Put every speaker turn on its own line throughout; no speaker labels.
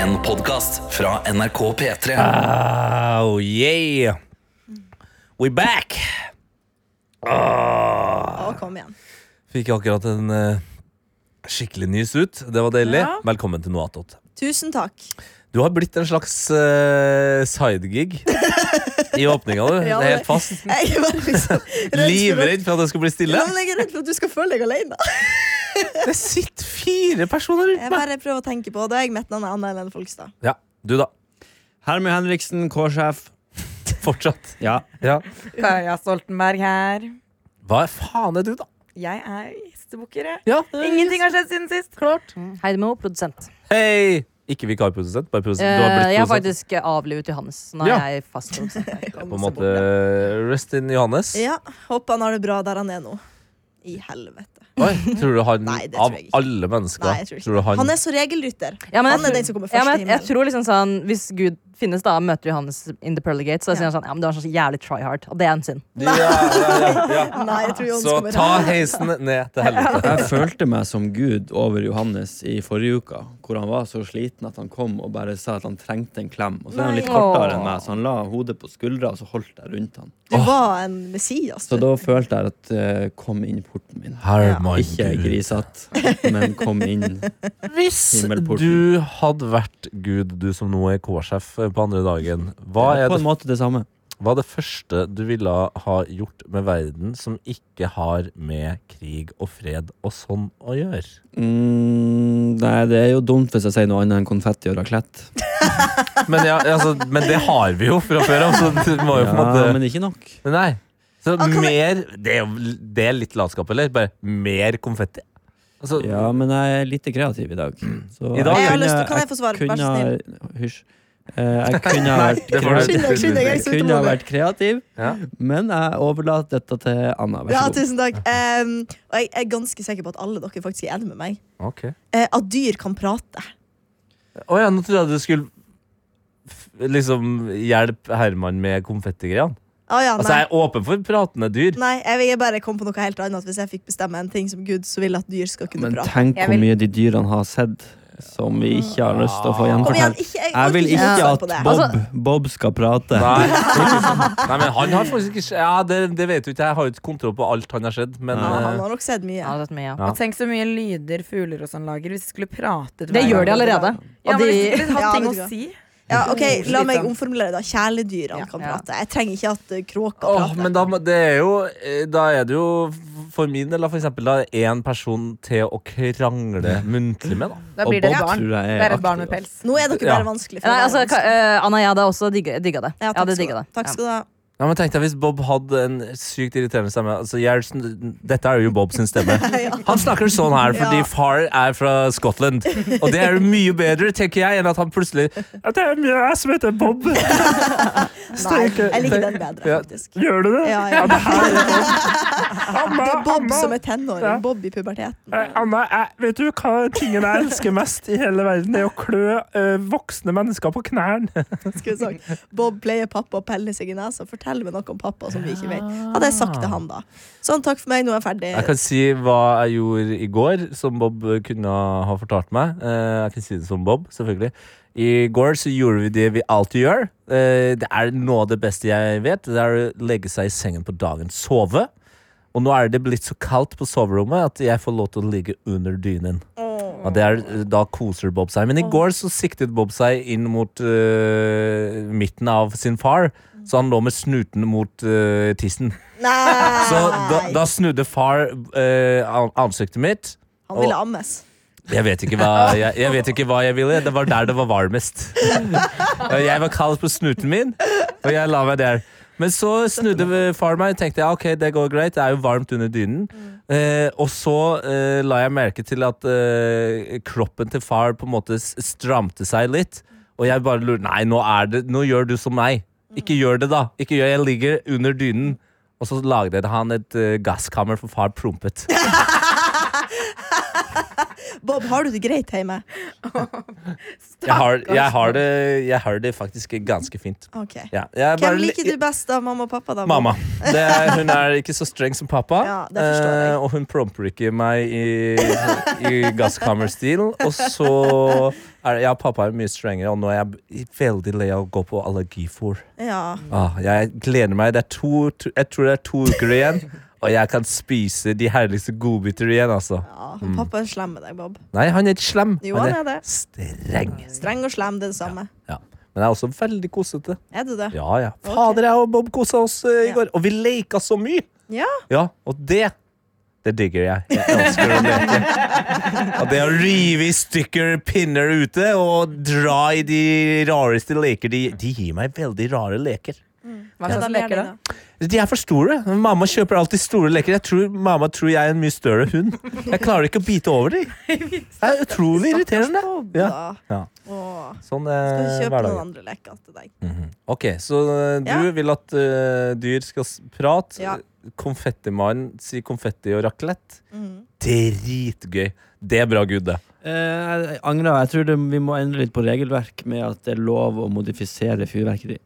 En podcast fra NRK P3
Oh yeah We back
Å, kom igjen.
Fikk akkurat en eh, skikkelig ny suit Det var deilig
Ja.
Velkommen til noe attåt
Tusen takk.
Du har blitt en slags eh, sidegig I åpninga du Det er
Ja, det-
helt fast
Jeg var liksom redd for
Livredd for at det skulle bli
at- Ja,
stille
men Jeg er redd for at du skal føle deg alene.
Det sitter fire personer rundt
Jeg
meg
bare prøver å tenke på det. Jeg møtte noen andre enn Folkstad.
Ja, du da
Hermie Henriksen, K-sjef.
Fortsatt
Ja.
ja.
Kaja Stoltenberg her.
Hva faen er du da?
Jeg er gjestebukker. jeg.
Ja.
Ingenting har skjedd siden sist. Klart. Heidemo, produsent.
Hei Ikke vikarprodusent, bare produsent Du har
Eh,
blitt
jeg har
produsent
faktisk avlivet Johannes. så Nå er
Ja.
jeg fast produsent. her.
På en måte Rest in Johannes
Ja, Håper han har det bra der han er nå. I helvete.
Oi, tror du han
Nei, det tror
av
jeg ikke.
alle mennesker
Nei, jeg tror ikke
tror du han,
Han er så regelrytter.
Ja, men jeg
han er
tror-
den som kommer først
ja,
til
men jeg, jeg
himmelen.
tror liksom sånn Hvis Gud finnes, da møter Johannes in the pearly gate. Så
Ja.
sier han sånn Ja, men du har sånn jævlig try hard. Og det er en synd.
ja, ja, ja, ja.
Nei, jeg tror Johannes
Så
kommer
ta heisen ned til helvete.
Jeg følte meg som Gud over Johannes i forrige uka, hvor han var så sliten at han kom og bare sa at han trengte en klem. Og så er han
Nei.
litt kortere enn
Åh.
meg, så han la hodet på skuldra, og så holdt jeg rundt han.
Du var en Messias.
Så
du.
da følte jeg at eh, kom inn porten min.
Herre
Ja.
min
Ikke
Gud.
grisete, men kom inn.
Hvis
Himmelporten.
du hadde vært Gud, du som nå er K-sjef på andre dagen, hva
Det
er,
var
det,
på en måte det samme.
hva er det første du ville ha gjort med verden som ikke har med krig og fred og sånn å gjøre?
Mm, nei, det er jo dumt hvis jeg sier noe annet enn konfetti og raclette.
Men, ja, altså, men det har vi jo fra før av, så det må jo på en måte
Ja, men ikke nok.
Nei. Så
Ah, kan
mer det er, jo- det er litt latskap, eller? Bare mer konfetti? Altså,
Ja, men jeg er lite kreativ i dag. Så
I dag?
Jeg har
kunne-
lyst til- kan jeg få svare? Vær så
kunne ha- Hysj. Eh, Jeg kunne ha vært
det får du-
Skynd deg, skynd deg, jeg er
kreativ, kunne ha
sultemodig.
vært kreativ
Ja.
men jeg overlater dette til Anna. Vær
Ja,
så god.
tusen takk. Em, og jeg er ganske sikker på at alle dere faktisk er enig med meg.
Ok.
Eh, at dyr kan prate.
Å ja, nå trodde jeg du skulle f- liksom hjelpe Herman med konfettigreiene.
Å ja, nei.
Altså, jeg er åpen for pratende dyr.
Nei, jeg vil bare komme på noe helt annet Hvis jeg fikk bestemme en ting som Gud, så ville jeg at dyr skal kunne
Men
prate.
tenk
Jeg
hvor
vil-
mye de dyrene har sett, som vi ikke har lyst til å
Kom
få
igjen,
gjenfortalt.
ikke, jeg,
Jeg vil
orker
ikke
svare
at
på det. Altså-
Bob, Bob skal prate.
Nei. Nei, men han har faktisk ikke Ja, det, det vet du ikke. Jeg har jo ikke kontroll på alt han har sett, men
Ja,
eh,
han har nok sett mye.
Ja, det, er mye, ja.
Ja.
Og tenk så mye lyder fugler og sånn lager hvis de skulle prate
det gjør de allerede.
Ja, men hvis
Og
de
de
skulle hatt
Ja,
ting
vet du hva.
å si
Ja, ok, La meg
Slitsomt.
omformulere det. Kjæledyrene kan
sånn. Ja.
prate. Jeg trenger ikke at eh, kråker
Åh,
prater.
men da, må- det er jo, eh, da er det jo f- for min del da, for eksempel, da, én person til å krangle muntlig med. Da.
Da
Og
blir det
Bob
et barn.
tror jeg er
Det er et barn
aktiv,
med pels.
Nå er dere
Ja.
bare vanskelig.
Nei, altså,
dere er
ka,
vanskelig.
eh, Anna, jeg hadde også digga, digga det.
Ja,
jeg
takk,
hadde
skal du
digga det.
ha. takk skal du ha.
Ja, men tenk deg hvis Bob hadde en sykt irriterende stemme. Altså, jeg, er sånn- dette er jo Bob sin stemme. Han snakker sånn her fordi
Ja.
far er fra Scotland. Og det er jo mye bedre, tenker jeg, enn at han plutselig At det er jeg som heter Bob!
Nei, jeg liker den bedre,
Ja.
faktisk.
Gjør du det?
Ja, ja.
Anna,
Det er Bob
Anna,
som er tenåring. Bob i puberteten.
eh, Anna jeg, vet du hva tingen jeg elsker mest i hele verden? Det er å klø eh, voksne mennesker på knærne.
Skulle sagt. Bob pleier pappa å pelle seg i nesa. Fortell meg noe om pappa som vi ikke vet. Hadde jeg sagt til han, da. Sånn, takk for meg, nå er jeg ferdig.
Jeg kan si hva jeg gjorde i går, som Bob kunne ha fortalt meg. Eh, Jeg kan si det som Bob, selvfølgelig. I går så gjorde vi det vi alltid gjør. Eh, Det er noe av det beste jeg vet. Det er å legge seg i sengen på dagen, sove. Og nå er det blitt så kaldt på soverommet at jeg får lov til å ligge under dynen. Og det er, eh, da koser Bob seg. Men i går så siktet Bob seg inn mot eh, midten av sin far, så han lå med snuten mot eh, tissen.
Nei!
Så da, da snudde far eh, an- ansiktet mitt.
Han ville ammes.
Jeg vet, ikke hva jeg, jeg vet ikke hva jeg ville. Det var der det var varmest. Og Jeg var kald på snuten min, og jeg la meg der. Men så snudde far meg og tenkte ja, ok, det går greit. Det er jo varmt under dynen. Eh, og så eh, la jeg merke til at eh, kroppen til far på en måte s- stramte seg litt. Og jeg bare lurte Nei, nå, er det, nå gjør du som meg. Ikke gjør det, da. Ikke gjør Jeg ligger under dynen. Og så lagde han et eh, gasskammer for far prompet.
Bob, har du det greit hjemme?
Jeg har, jeg har, det, jeg har det faktisk ganske fint.
Ok.
Ja. Jeg er bare
Hvem liker du best av mamma og pappa, da? Bob?
Mamma. Det er, hun er ikke så streng som pappa.
Ja, det forstår jeg.
eh, og hun promper ikke meg i, i gasskammerstil. Og så er det, Ja, pappa er mye strengere, og nå er jeg veldig lei av å gå på allergifor.
Ja.
Ah, jeg gleder meg. Det er to, to, jeg tror det er to uker igjen. Og jeg kan spise de herligste godbiter igjen, altså.
ja. han Pappa er slem med deg, Bob.
Nei, han er ikke slem.
Jo, han er det.
streng.
Streng og slem, det er det samme.
Ja. Men jeg er også veldig kosete.
Er du det?
Ja, ja. Fader, jeg og Bob kosa oss eh, i
Ja.
går. Og vi leka så mye!
Ja.
Ja, og det det digger jeg. Jeg elsker å leke. Og det å rive i stykker pinner ute og dra i de rareste leker De, de gir meg veldig rare leker.
Hva
Ja,
slags
da mer
leker,
det,
da?
De er for store. Mamma kjøper alltid store leker. Jeg tror, mamma tror jeg er en mye større hund. Jeg klarer ikke å bite over dem. Det er utrolig irriterende.
Bob,
Ja.
da.
Ja.
Åh.
Sånn
Skal vi
eh,
kjøpe noen
hverdagen.
andre leker til deg?
Mhm. Ok, så eh, du
Ja.
vil at eh, dyr skal s- prate.
Ja.
Konfettimannen sier konfetti og raclette.
Mhm.
Dritgøy. Det er bra gud, det.
Eh, jeg angrer. Jeg tror det, vi må endre litt på regelverk med at det er lov å modifisere fyrverkeri.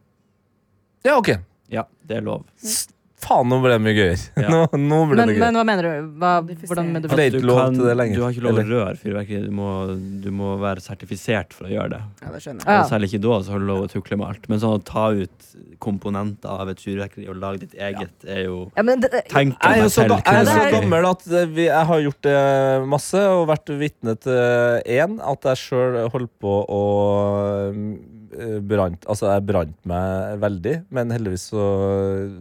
Ja, ok.
Ja, det er lov.
S- Faen, nå ble det mye gøyere.
Ja.
Nå, nå ble
Men,
det gøy.
men hva mener du? Hva, hvordan mener
For
du?
det er ikke lov til det lenger.
du har ikke lov å
Eller?
røre fyrverkeri. Du må, du må være sertifisert for å gjøre det.
Ja, det skjønner jeg.
Ja.
Og Særlig ikke da, så har du lov å tukle med alt. Men sånn å ta ut komponenter av et fyrverkeri og lage ditt eget, er jo
Ja, men det,
Tenk
Jeg er
deg
jo så,
selv.
ga- jeg altså, er så
kunstverket.
gammel at eh, vi, jeg har gjort det masse og vært vitne til én at jeg sjøl holdt på å eh, brant, Altså, jeg brant meg veldig, men heldigvis så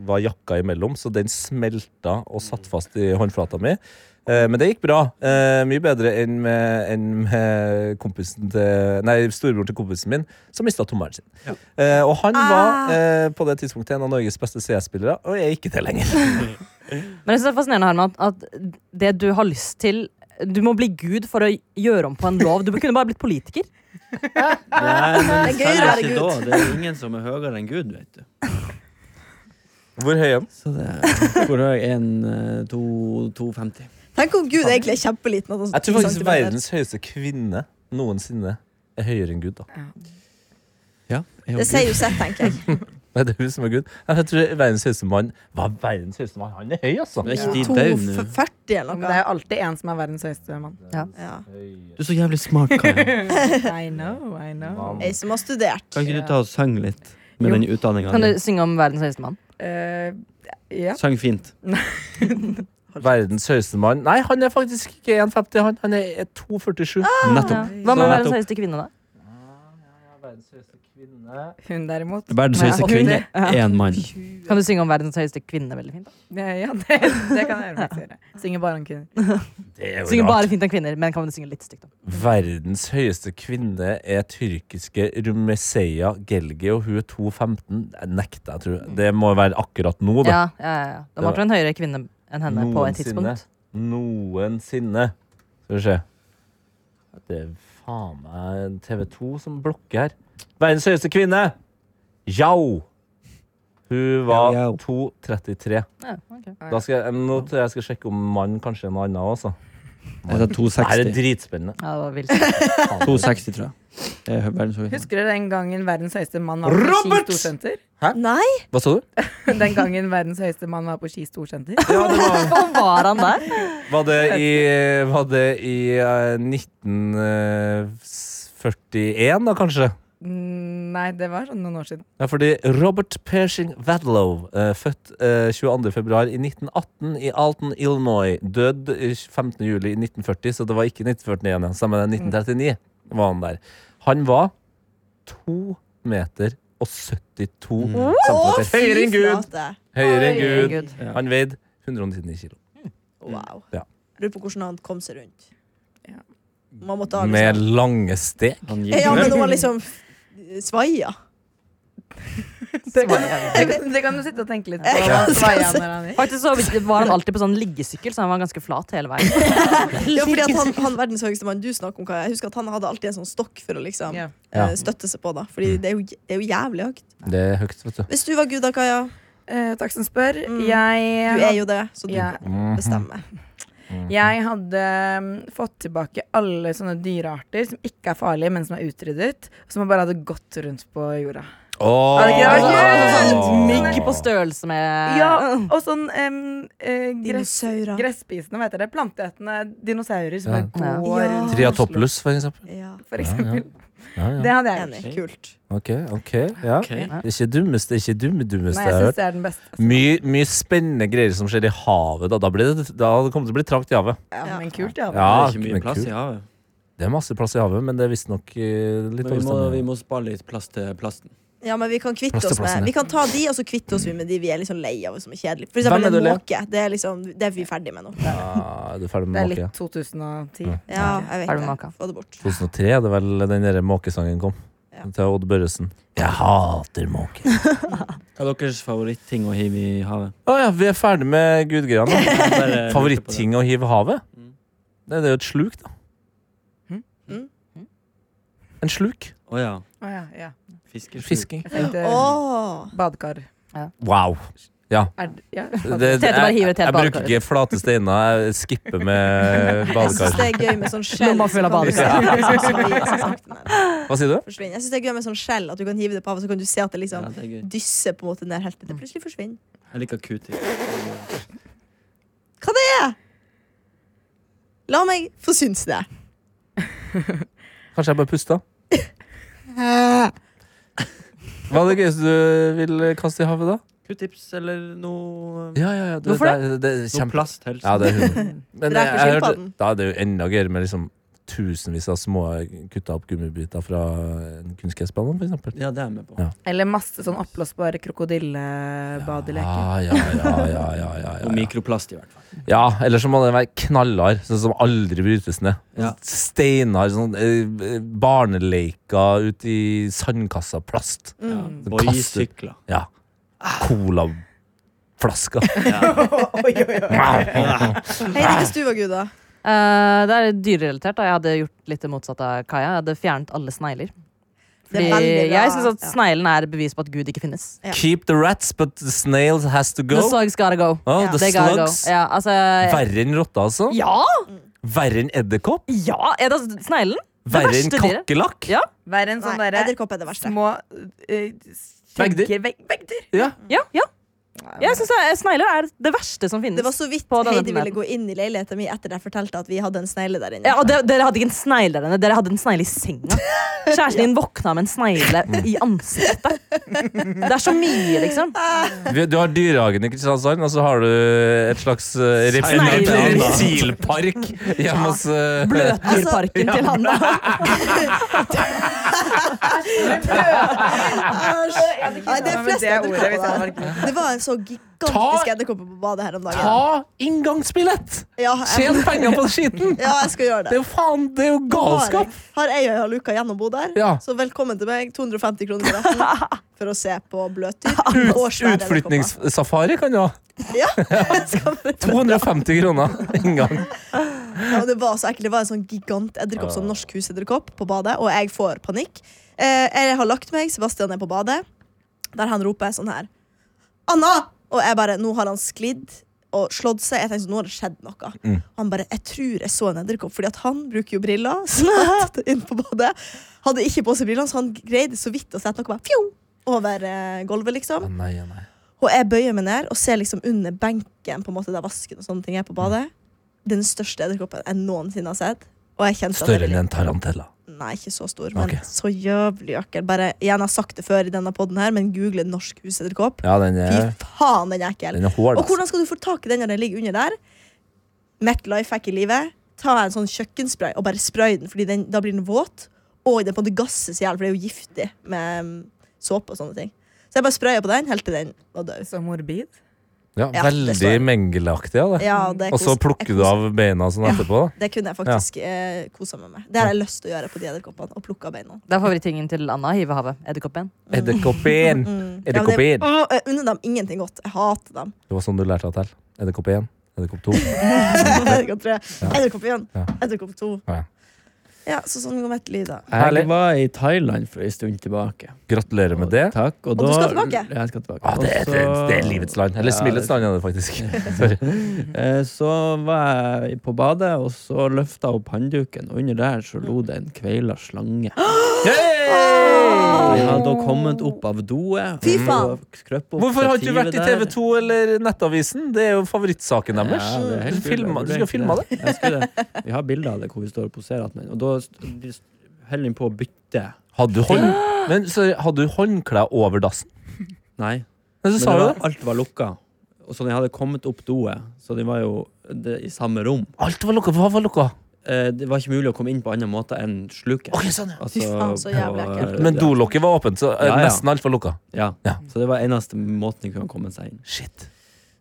var jakka imellom, så den smelta og satt fast i håndflata mi. Eh, Men det gikk bra. Eh, mye bedre enn med, enn med kompisen til Nei, storebroren til kompisen min, som mista tommelen sin. Eh, og han
Ah.
var eh, på det tidspunktet en av Norges beste CS-spillere, og jeg er ikke det lenger.
Men jeg synes det er fascinerende, Herman, at det du har lyst til Du må bli gud for å gjøre om på en lov. Du kunne bare blitt politiker.
Nei, men
Det er gøy å
selv
være
ikke
Gud.
da. Det er ingen som er høyere enn Gud, vet du.
Hvor høy er han?
Så det er Hvor høy? eh, 2,50.
Tenk om Gud egentlig er kjempeliten. at han-
Jeg tror
ti
faktisk
centimeter.
verdens høyeste kvinne noensinne er høyere enn Gud. da
Ja, jeg
Det sier jo sett, tenker jeg.
Nei, det er hun som er Gud. Jeg tror verdens høyeste mann Hva verdens høyeste mann? Han er høy, altså!
Men er ikke de døde nå?
2,40 eller
Men Det er
noe.
jo alltid en som er verdens høyeste mann.
Ja.
Du er så jævlig smart, Kaja.
I know, I know.
Ei som har studert.
Kan ikke du ta og synge litt med den utdanninga
Kan du
di?
synge om verdens høyeste mann?
Eh, ja.
Sang fint.
Verdens høyeste mann Nei, han er faktisk ikke 1,50, han. Han er 2,47.
Ja.
Ah,
Nettopp.
Hva
Så
med verdens
nettopp.
høyeste kvinne, da?
Verdens høyeste kvinne
Hun derimot
Verdens høyeste kvinne. Én mann.
Kan du synge om verdens høyeste kvinne veldig fint? da?
Ja, ja, det, det kan jeg faktisk gjøre. Synger bare om kvinner.
Det er jo
Synge
rart.
bare fint om kvinner, men kan du synge litt stygt om?
Verdens høyeste kvinne er tyrkiske Rumeseya Gelgi, og hun er 2,15. Jeg nekter, jeg tror. Det må være akkurat nå, da.
Ja, ja, ja. Det måtte være en høyere kvinne enn henne på et tidspunkt.
Noensinne. Skal vi se. Det er faen meg TV 2 som blokker her. Verdens høyeste kvinne! Yao. Hun var
Yao, yao.
2,33.
Ja, ok.
Da skal jeg, nå tror jeg jeg skal sjekke om mannen kanskje er noe annet også.
Jeg sa
Det her er
260.
dritspennende.
Ja, det var vilt.
260, tror jeg. Det er verdens høyeste.
Husker du den gangen verdens høyeste mann var på Ski
Robert!
Storsenter?
Nei!
Hva sa du?
Den gangen verdens høyeste mann var på Ski Storsenter?
Ja, det var,
Hvorfor var han der?
var det i, var det i eh, 1941, da kanskje?
Mm, Nei, det var sånn noen år siden.
Ja, fordi Robert Pershing Wadlow, eh, født eh, 22. februar i 1918 i Alton, Illinois, død eh, 15. juli i 1940, så det var ikke 1941 igjen, ja. samme det, 1939 var han der. Han var 2 meter og 72
Å,
centimeter.
fy
Høyere enn Gud!
flate.
Høyere enn Gud.
Gud.
Ja.
Han veide 199 kilo.
Wow.
Mm. Ja.
Lurer på hvordan han kom seg rundt.
Ja.
Man måtte ha
Med
liksom
lange steg.
Han gikk
Ja, men det var liksom svaia.
Det kan, det kan du sitte og tenke litt på. Hva sveier han når han gikk?
Faktisk så var han alltid på sånn liggesykkel, så han var ganske flat hele veien.
Ja, fordi at han, han verdens høyeste mann du snakker om, Kaja, jeg husker at han hadde alltid en sånn stokk for å liksom
Ja.
Ja. Mm.
eh, støtte seg på, da. Fordi det er, jo, det er jo jævlig høyt.
Det er høyt, vet du.
Hvis du var Gud, da, Kaja.
Eh, takk som spør.
Mm.
Jeg
Du er jo det, så
Mhm.
du
Ja.
bestemmer.
Jeg hadde mm, fått tilbake alle sånne dyrearter som ikke er farlige, men som er utryddet. Som bare hadde gått rundt på jorda.
Åh.
Er det ikke det?
Altså, altså,
Åh.
sånn mygg på størrelse med
Ja, og sånn em, eh, gress,
Dinosaurer.
gresspisende, hva heter det? Planteetende dinosaurer som
Ja.
bare går
Ja.
rundt.
Triatoplus, for eksempel.
Ja,
For eksempel.
Ja, ja.
Det hadde jeg gjort.
enig. Kult.
Ok, ok. Ja.
Ok.
Det er ikke dummeste, ikke dumme, dummeste
Nei,
jeg
jeg
har hørt.
syns det er den beste.
Mye, mye spennende greier som skjer i havet. Da, da, blir det, da kommer det til å bli trangt i havet.
Ja,
Ja.
men kult, ja.
Det
Ja,
er ikke
men
mye plass
kult.
i havet.
Det er masse plass i havet, men det er visstnok eh, litt
Men vi må, vi
overstammende.
må spare litt plass til plasten.
Ja, men vi kan kvitte oss med
Plasterplassene.
Vi kan ta de, og så kvitte oss vi med de vi er liksom lei av, og som er kjedelige. For
Hvem er
eksempel
du
en
lei av?
måke. Det er liksom Det er vi ferdig med nå.
Ja, du er ferdig
Det
med
er
måke? ja.
litt 2010.
Ja, jeg
Ferdig med
vet det.
måka.
Få det bort.
2003 er det vel den der måkesangen kom.
Ja.
Til Odd Børresen. Jeg hater måker.
Hva er deres favoritting å hive i havet?
Å ja, vi er ferdig med gudgreiene. nå.
Bare lurte på det.
Favoritting å hive i havet?
Mm.
Det det er jo et sluk, da.
Mm.
En sluk.
Å ja.
Å ja, ja.
Fiskesjuk.
Fisking.
Jeg tenkte
Åh.
badekar.
Wow.
Er det, ja,
Det-
Tete bare
jeg,
hiver
jeg,
et helt
bruker
badekar.
ikke flate steiner. Jeg skipper med
Jeg syns det
badekar.
er gøy med sånn skjell.
Lomma full av
som kan- liksom Ja,
badekar.
som vi har sagt den her.
Hva sier du?
Forsvinn. Jeg syns det er gøy med sånn skjell, at du kan hive det på havet, så kan du se at det
Ja,
liksom
det er gøy.
dysser på en måte ned helt til det plutselig forsvinner.
Jeg liker q-tip.
Hva det er? La meg få synes det.
Kanskje jeg bare pusta? Hva er det gøyeste du vil kaste i havet, da?
Q-tips eller noe
Ja, ja, ja,
Hvorfor
det? er- det er
Noe
kjempe...
plast, helst.
Ja, det er humor. Men jeg,
Dreper
jeg hørte,
skilpadden.
da er det jo enda gøyere med liksom tusenvis av små kutta opp gummibiter fra en kunstgressbane, for eksempel.
Ja, det er jeg med på.
Ja.
Eller masse sånn oppblåsbare krokodillebadeleker.
Ah, Ja, ja, ja, ja, ja, ja,
Og
ja.
mikroplast, i hvert fall.
ja eller så må det være knallhard, sånn som aldri brytes ned.
Ja.
Steinar, sånn eh, barneleker ute i sandkassa, plast.
Ja.
Mm.
Boysykler.
Ja. Colaflasker.
Ja.
Hei, det er ikke stua, Guda.
Eh, det er dyrerelatert. da. Jeg hadde gjort litt det motsatte av Kaja. Jeg hadde fjernet alle snegler.
Det er
Fordi
veldig bra.
jeg syns at
Ja.
sneglen er bevis på at Gud ikke finnes.
Ja.
Keep the rats, but the snails has to
The
go.
slugs gotta go.
Oh,
Ja.
the
They gotta go.
slugs.
Ja, altså,
Verre enn rotte, altså.
ja,
Verre enn edderkopp.
ja! Er det altså sneglen?
Verre enn
verste dyret.
kakerlakk.
Ja.
Vær en sånn
Nei,
derre
edderkopp er det verste.
små eh,
Veggdyr.
kjegger- vegg- Veggdyr!
Ja.
Ja, ja. Jeg syns snegler er det verste som finnes.
Det var så vidt
På denne
Heidi ville
planeten.
gå inn i leiligheten min etter jeg fortalte at vi hadde en snegle der inne.
Ja, og de, Dere hadde ikke en snegle der inne, dere hadde en snegle i senga. Kjæresten din våkna med en snegle i ansiktet. Det er så mye, liksom.
Vi- Du har Dyrehagen i Kristiansand, og så har du et slags eh, rep- en
Snegle.
rep- reptilpark hjemme hos eh,
Altså,
Bløtdyrparken til Hanna.
Nei, det er
Men
flest
det er ordet vi
edderkopper.
sa,
der.
var ikke det?
Det var en så gigantisk
Ta-
edderkopp på badet her om dagen.
Ta inngangsbillett!
Ja, jeg,
Tjen penger på skiten!
ja, jeg skal gjøre
Det er
det.
jo faen, det er jo galskap!
Har jeg og Luka gjennombo der,
Ja.
så velkommen til meg. 250 kroner billetten for å se på bløtdyr. og svære edderkopper.
Utflytningssafari kan du ha.
Ja, jeg skal prøve.
250 kroner inngang.
Ja, men det var så ekkelt. Det var en sånn gigantedderkopp, sånn norsk husedderkopp, på badet, og jeg får panikk. Eh, jeg har lagt meg, Sebastian er på badet, der han roper sånn her Anna! Og jeg bare Nå har han sklidd og slått seg. Jeg tenkte sånn, nå har det skjedd noe. Han bare Jeg tror jeg så en edderkopp, fordi at han bruker jo briller. Snart inn på badet. Hadde ikke på seg brillene, så han greide så vidt å sette noe bare, fjong, over eh, gulvet, liksom.
Nei, nei.
Og jeg bøyer meg ned og ser liksom under benken på en måte der vasken og sånne ting er på badet. Den største edderkoppen jeg noensinne har sett. Og jeg kjente at
Større enn
jeg ville,
en tarantella.
Nei, ikke så stor, men
Ok.
så jævlig økkel. Bare, igjen, jeg har sagt det før i denne podden her, men google norsk husedderkopp.
Ja, den
Fy
er,
faen, den er ekkel.
den er hård. altså.
Og
ass.
hvordan skal du få tak i den når den ligger under der? Mitt life hack i livet. Ta en sånn kjøkkenspray og bare spray den, Fordi den, da blir den våt. Og den på en måte gasses i hjel, for det er jo giftig med mm, såpe og sånne ting. Så jeg bare spraya på den helt til den var død.
Så morbid.
Ja,
Ja, det
veldig
står-
mengelaktig av det.
Ja, det er
Og så
kos-
plukker
jeg
du
koser-
av beina sånn
Ja.
etterpå. da.
Det kunne jeg faktisk eh, kosa meg med. Det har jeg lyst til å gjøre på de edderkoppene. Å plukke av beina.
Det er favorittingen til Anna. Hive i havet. Edderkoppen.
Mm,
Edderkoppen!
Mm.
Ja, men
Edderkoppen!
det- Åh, jeg unner dem ingenting godt. Jeg hater dem.
Det var sånn du lærte deg til. Edderkopp 1, edderkopp 2.
Edderkopp tre, edderkopp én,
Ja.
edderkopp to.
Ja.
Ja, så sånn går mitt liv, da.
Herlig.
Jeg var i Thailand for en stund tilbake.
Gratulerer med det.
Takk. Og,
du
da-
skal tilbake?
Ja, Jeg skal tilbake.
Ah, det,
Og
er, det,
så-
det er livets land. Eller
Ja,
smilets
det-
land, er det faktisk. Sorry.
Eh, Så var jeg på badet, og så løfta jeg opp håndduken, og under der så lå det en kveila slange. Den hadde da kommet opp av doet.
Fy faen.
Hvorfor har ikke du vært i TV 2 eller Nettavisen? Det er jo favorittsaken deres. du, filma, du skal filme det.
Jeg skulle, vi har bilder av det hvor vi står og poserer attmed. Og da st- de st- holder den på å bytte.
Hadde du, hånd... Men, sorry, hadde du håndklær over dassen?
Nei.
Men
Men
du
det
sa jo
var,
det.
alt var lukka. Og så den hadde kommet opp doet, så den var jo det, i samme rom.
Alt var lukka. Hva var lukka?
Eh, det var ikke mulig å komme inn på annen måte enn sluket.
Ok, sånn, ja.
Altså,
Fy faen, så
på-
jævlig ekkelt.
Men dolokket var åpent, så eh,
Ja, ja.
nesten alt var lukka.
Ja.
Ja.
Så det var eneste måten de kunne komme seg inn.
Shit.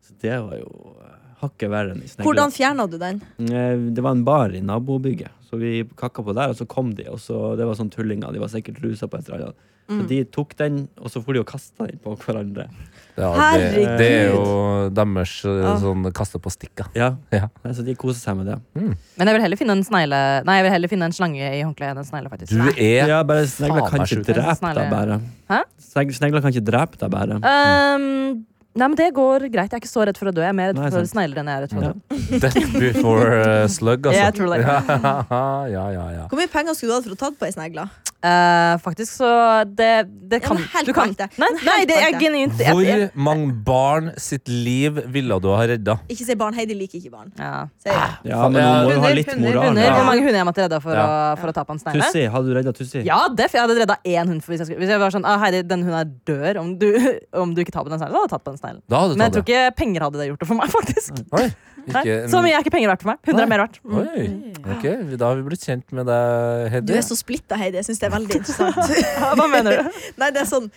Så det var jo eh, hakket verre enn i Snegle.
Hvordan fjerna du den?
Eh, Det var en bar i nabobygget, så vi kakka på der, og så kom de. Og så, det var sånn tullinger, de var sikkert rusa på et eller annet.
Mm.
Så de tok den, og så for de og kasta den på hverandre.
Ja, det, det er
Herregud.
jo deres eh,
Ja.
sånn kaste på stikka.
Ja.
Ja.
Nei, så de koser seg med det.
Men jeg vil heller finne en snegle Nei, jeg vil heller finne en slange i håndkleet enn en snegle, faktisk.
Du
Nei.
er
Ja, bare snegler
Faen,
kan
vær
ikke
sjuk.
drepe
Snegler-
deg, bare.
Hæ?
Sneg- Snegler kan ikke drepe deg, bare.
Ehm, nei, men det går greit. Jeg er ikke så redd for å dø. Jeg er mer redd
Nei,
for
sant.
snegler enn jeg er redd for å
Ja.
dø.
death before eh, slug, altså.
Ja, jeg tror det.
ja, ja, ja.
Hvor mye penger skulle du hatt for å tatt på ei snegle?
Eh, faktisk, så det, det
Ja,
kan
men helt
Du kan
på ekte.
Nei,
Men helt
nei, det
på
er
ekte.
genuint. Jeg-
Hvor
jeg-
mange barn sitt liv ville du ha redda?
Ikke si barn. Heidi liker ikke barn.
Ja.
Sier jeg.
Ah,
Ja, men
Ja.
man må jo ha
Hunder,
litt
hunder,
moral.
Hunder,
Ja.
Hvor mange hunder jeg måtte redde for,
Ja.
å, for å ta på en snegle?
Tussi, hadde du redda Tussi?
Ja, def, jeg hadde redda én hund. For hvis, jeg skulle, hvis jeg var sånn ah, Heidi, den hunden er død om du, om du ikke tar på den sneglen. Da hadde jeg tatt på den sneglen.
Da hadde du
Men jeg tror
tatt det.
ikke penger hadde det gjort det for meg, faktisk.
Oi,
Nei,
ikke en-
så mye er ikke penger verdt for meg. Hunder er
Nei.
mer verdt. Mm.
Oi, ok, Da har vi blitt kjent med deg,
Du
Heddy.
er så splitta, Heidi. Jeg syns det er veldig interessant.
Hva mener du?
Nei, det er sånn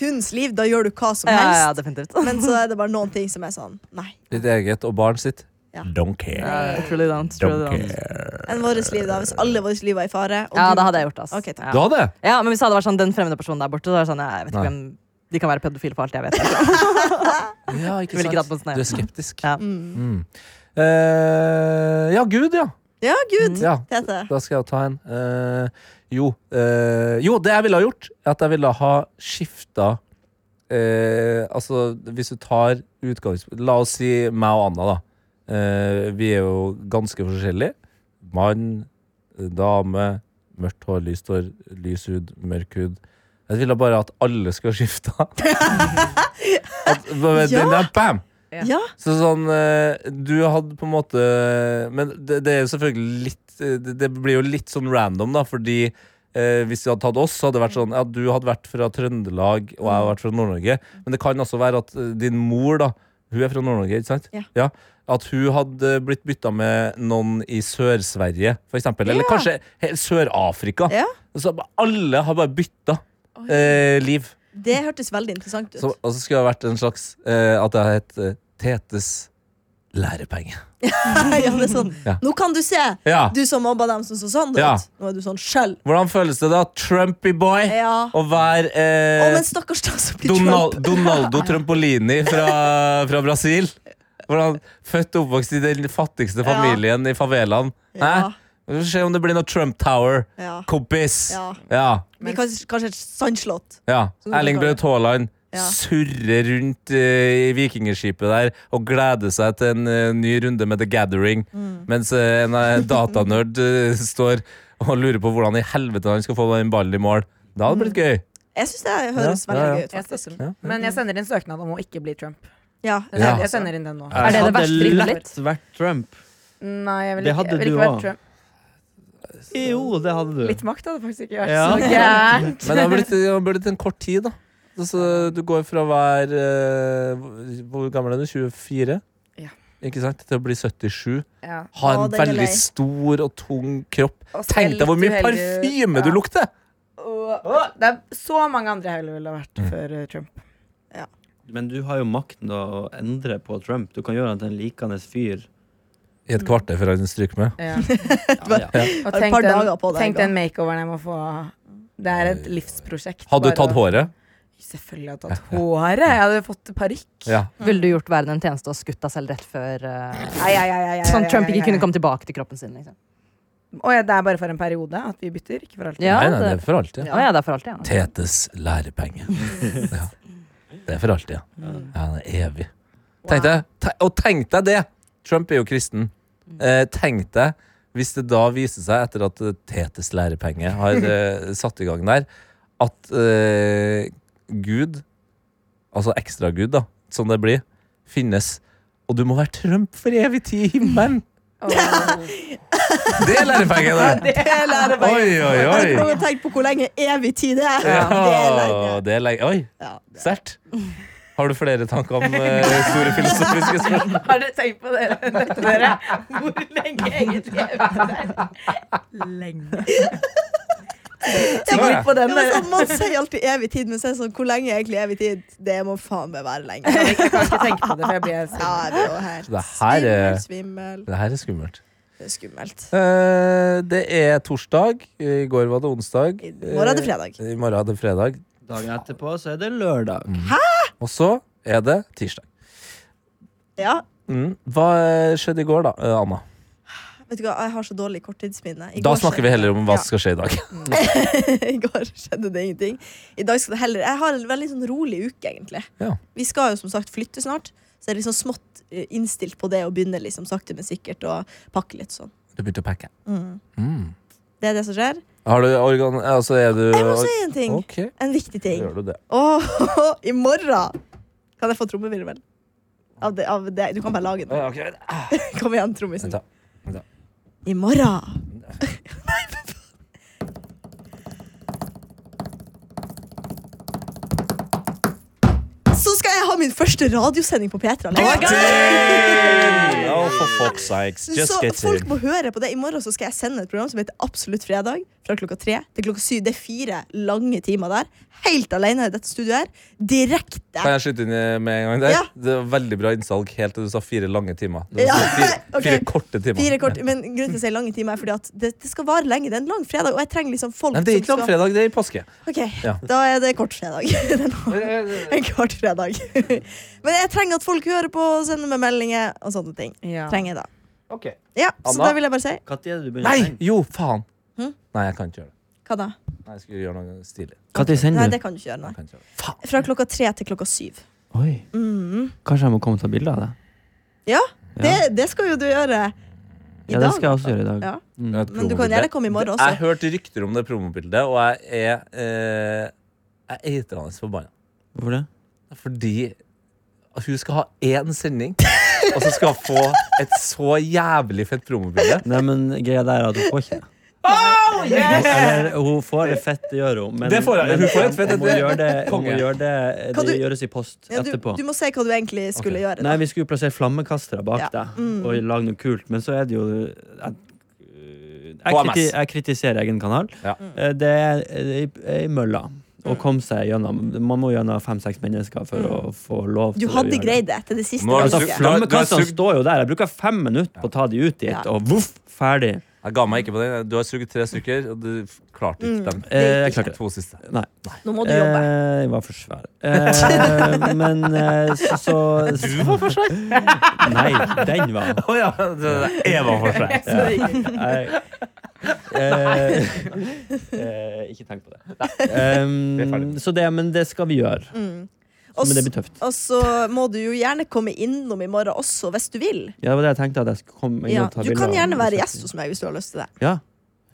Hunds liv, da gjør du hva som
Ja, ja,
helst.
definitivt.
Men så er det bare noen ting som er sånn Nei.
Ditt eget og barn sitt.
Ja.
Don't care.
Uh, truly don't, truly
Don't
don't.
care.
Enn vårt liv, da. Hvis alle våre liv var i fare. og
Ja,
du-
det hadde jeg gjort. ass.
Ok, takk.
Du
ja.
hadde?
ja, Men hvis det hadde vært sånn den fremmede personen der borte, så er det sånn, ja, jeg vet ikke
Nei.
hvem De kan være pedofile for alt jeg vet. Liksom.
Ja, ikke
Ville ikke tatt på en sånn
sant?
snegl.
Du er skeptisk.
Ja.
Mm.
Mm. Eh, ja, Gud, ja.
Ja,
Mm.
gud.
Mm. ja.
Tete.
Da skal jeg ta en. Eh, jo, eh, jo, det jeg ville ha gjort, er at jeg ville ha skifta eh, Altså, hvis du tar utgangspunkt La oss si meg og Anna, da. Eh, vi er jo ganske forskjellige. Mann, dame, mørkt hår, lyst hår, lys hud, mørk hud. Jeg ville bare at alle skulle ha skifta. At- den der, bam!
Ja.
Så sånn, eh, du hadde på en måte Men det, det er jo selvfølgelig litt eh, det, det blir jo litt sånn random, da, fordi eh, hvis du hadde tatt oss, så hadde det vært sånn Ja, du hadde vært fra Trøndelag, og jeg hadde vært fra Nord-Norge. Men det kan også være at eh, din mor, da, hun er fra Nord-Norge, ikke sant?
Ja.
At hun hadde blitt bytta med noen i Sør-Sverige, for eksempel. Eller kanskje he- Sør-Afrika.
Ja.
Så bare- alle har bare bytta eh, liv.
Det hørtes veldig interessant ut.
Så, og så skulle det vært en slags eh, At det hadde hett eh, Tetes lærepenge.
ja, det er sånn.
Ja.
Nå kan du se!
Ja.
Du som mobba dem som så sånn ut.
Ja.
Nå er du sånn sjøl.
Hvordan føles det da, Trumpy boy,
Ja.
å være
Å,
eh,
men stakkars da som blir
Donal
Trump.
Donaldo Trampolini fra, fra Brasil? Hvordan, født og oppvokst i den fattigste familien i favelaen.
Ja.
Hæ? Vi får se om det blir noe Trump Tower.
Ja.
Kompis! Ja.
Ja.
ja.
Men kanskje, kanskje et sandslott. Sånn
Erling
det går.
Braut Haaland
Ja.
surrer rundt eh, i vikingskipet der og gleder seg til en eh, ny runde med The Gathering,
Mm.
mens eh, en eh, datanerd eh, står og lurer på hvordan i helvete han skal få den ballen i mål. Da hadde det blitt gøy.
Jeg syns det høres
Ja, ja, ja.
veldig gøy ut.
Jeg
faktisk.
støtter den. Men jeg sender inn søknad om å ikke bli Trump.
Ja.
Ja.
Jeg sender, jeg sender inn den nå.
Er det det verste
Hadde
ryktet
lett vært Trump.
Nei, jeg
Det
vil ikke,
hadde
jeg vil
du
ikke være
også.
Trump.
Jo, det hadde du.
Litt makt hadde faktisk ikke vært
Ja.
så gærent.
Men det hadde blitt, det hadde blitt en kort tid, da. Så du går fra å være eh, hvor- Hvor gammel er du? 24?
Ja.
Ikke sant? Til å bli 77.
Ja.
Ha en
Å, den er lei.
veldig stor og tung kropp.
Og så er
Tenk deg hvor
litt
mye
uheldig-
parfyme du
Ja.
lukter!
Og- Det er så mange andre jeg heller ville vært
Mm.
før eh, Trump.
Men du har jo makten da å endre på Trump. Du kan gjøre han til en likende fyr.
I et kvarter før han stryker med.
Ja.
Ja, ja.
Og
Har et
tenk
par dager på
den,
deg,
tenk
da.
den makeoveren jeg må få. Det er et livsprosjekt.
Eh, Hadde
bare
du tatt
å-
håret?
Selvfølgelig hadde jeg tatt håret. Jeg hadde fått parykk.
Ja.
Ville du gjort verden en tjeneste og skutt deg selv rett før eh,
Ai, ai, ai, ai, ai,
Sånn
ai,
Trump
ai,
ikke
ai.
kunne komme tilbake til kroppen sin? Liksom.
Og ja, det er bare for en periode at vi bytter, ikke for alltid.
Ja,
nei, nei, det
det,
er for alltid.
ja, ja, det er for alltid. Ja.
Tetes lærepenge. Ja. Det er for alltid, ja. ja det er evig.
Wow.
Tenk deg, te- og tenk deg det! Trump er jo kristen. Eh, tenk deg hvis det da viser seg, etter at eh, Tetes lærepenge har eh, satt i gang der, at eh, Gud, altså ekstra Gud, da, som det blir, finnes. Og du må være Trump for evig tid i himmelen!
Åh.
Det er lærepengen, det!
Det er lærepenger.
Oi, oi,
Har dere
oi!
noen tenkt på hvor lenge evig tid det er? Det er
Ja,
lenge.
det er lenge. Oi,
Ja.
sterkt. Har du flere tanker om eh, store filosofiske spørsmål?
Har dere tenkt på det? dette, Dere? Hvor lenge egentlig er det? Lenge. Tenk litt på
Ja,
den.
men
dere.
sånn, man sier alltid evig tid, men så er det sånn, hvor lenge er egentlig evig tid? Det må faen meg være lenge.
Jeg kan ikke tenke på det, for jeg blir
Ja,
svimmel.
det er jo helt
Det her eh, er,
svimmel, svimmel.
det her er skummelt.
Det er skummelt.
Eh, det er torsdag. I går var det onsdag.
I morgen er det fredag.
Eh, I morgen er det fredag.
Dagen etterpå så er det lørdag.
Og så er det tirsdag.
Ja.
Mm. Hva eh, skjedde i går, da, eh, Anna?
Vet du hva, jeg har så dårlig korttidsminne. I
Da
går
snakker
skjedde-
vi heller om hva
Ja.
som skal skje i dag.
I går skjedde det ingenting. I dag skal det heller Jeg har en veldig sånn rolig uke, egentlig.
Ja.
Vi skal jo som sagt flytte snart, så jeg er liksom smått eh, innstilt på det å begynne liksom sakte, men sikkert å pakke litt sånn.
Du begynte å pakke.
Mm.
Mm.
Det er det som skjer.
Har du organ... Altså, er du
Jeg må si en ting.
Ok,
En viktig
da
ting.
gjør du det.
Åh, i morgen kan jeg få trommevirvel? Av det, av det. Du kan bare lage den.
Ja, ok.
Kom igjen, trommisen.
Vent da. Vent da.
I morgen. Så skal jeg ha min første radiosending på P3. alene.
Ting! Oh, for fuck's sakes. Just
Så
get to
folk må høre på det. I morgen så skal jeg sende et program som heter Absolutt fredag. Fra klokka tre til klokka syv. Det er fire lange timer der. Helt alene i dette studioet her. Direkte.
Kan jeg skyte inn eh, med en gang der?
Ja.
Det var Veldig bra innsalg helt til du sa fire lange timer. Du
Ja,
sa Fire,
ok.
fire korte timer.
Fire kort, men grunnen til å si lange timer er fordi at det, det skal vare lenge. Det er en lang fredag, og jeg trenger liksom folk
Nei, det er ikke
som skal
langfredag, det er i påske.
Ok,
Ja.
da er det kort fredag. Den har- en kort fredag. Men jeg trenger at folk hører på og sender meg meldinger og sånne ting.
Ja.
Trenger jeg da.
Ok.
Ja, så
Anna?
da vil jeg bare si
Når er det du begynner
Nei,
å sende?
jo, faen!
Hm?
Nei, jeg kan ikke gjøre det.
hva da?
Nei, jeg skulle gjøre noe stilig.
Når
Nei,
sender du?
det kan du ikke gjøre, nei.
Jeg kan ikke gjøre det. Faen!
Fra klokka tre til klokka syv.
Oi,
Mm.
Kanskje jeg må komme og ta bilde av det?
Ja,
Ja.
det, det skal jo du gjøre i
Ja, det
dag.
skal jeg også gjøre i dag.
Ja.
Mm.
Et
Men du kan
promobilde.
gjerne komme i morgen også.
Jeg hørte rykter om det promobildet, og jeg er eh, Jeg er eitrende forbanna.
Hvorfor det?
Fordi hun skal ha én sending, og så skal hun få et så jævlig fett promobilde.
Nei, men greia der er at hun får ikke det. Oh, Eller, hun får det fett, det gjør hun. Men,
Det får jeg.
men
Hun får et fett,
hun må
det-
gjøre det, hun
Konge.
må gjøre det,
Kan
det
du-
gjøres i post
Ja, du,
etterpå.
du må si hva du egentlig skulle
Ok.
gjøre. Da.
Nei, vi skulle jo plassere flammekastere bak
Ja.
deg
Mm.
og lage noe kult, men så er det jo jeg, jeg,
HMS.
kriti, jeg kritiserer egen kanal.
Ja.
Mm.
Eh, Det er det er i mølla. Å komme seg gjennom Man må gjennom fem-seks mennesker for å få lov
Mm. Du
å
hadde
gjøre det.
greid det til det siste.
Nå har du
Altså,
Sugd-
ganske.
fl- du har
Flammekastene
sugd-
står jo der. Jeg bruker fem minutter på å ta de ut dit,
Ja.
og voff, ferdig.
Jeg ga meg ikke på den. Du har sugd tre stykker, og du f- klarte
Mm.
ikke dem.
Eh, jeg klarte det.
To siste.
Nei.
Nå må du jobbe.
Eh, jeg var for svær. Eh, men eh, så, så Du var for svær? Nei, den var
Å ja! Det er Eva for seg.
Nei. Eh, eh, ikke tenk på det. Ehm,
Vi er ferdig.
så det, men det skal vi gjøre.
Mm. Og
Men det
s-
blir tøft.
Og så må du jo gjerne komme innom i morgen også, hvis du vil.
Ja, det var det jeg tenkte at jeg skulle komme inn
Ja,
og ta
du
bilder
kan
av-
gjerne være gjest hos meg hvis du har lyst til det.
Ja,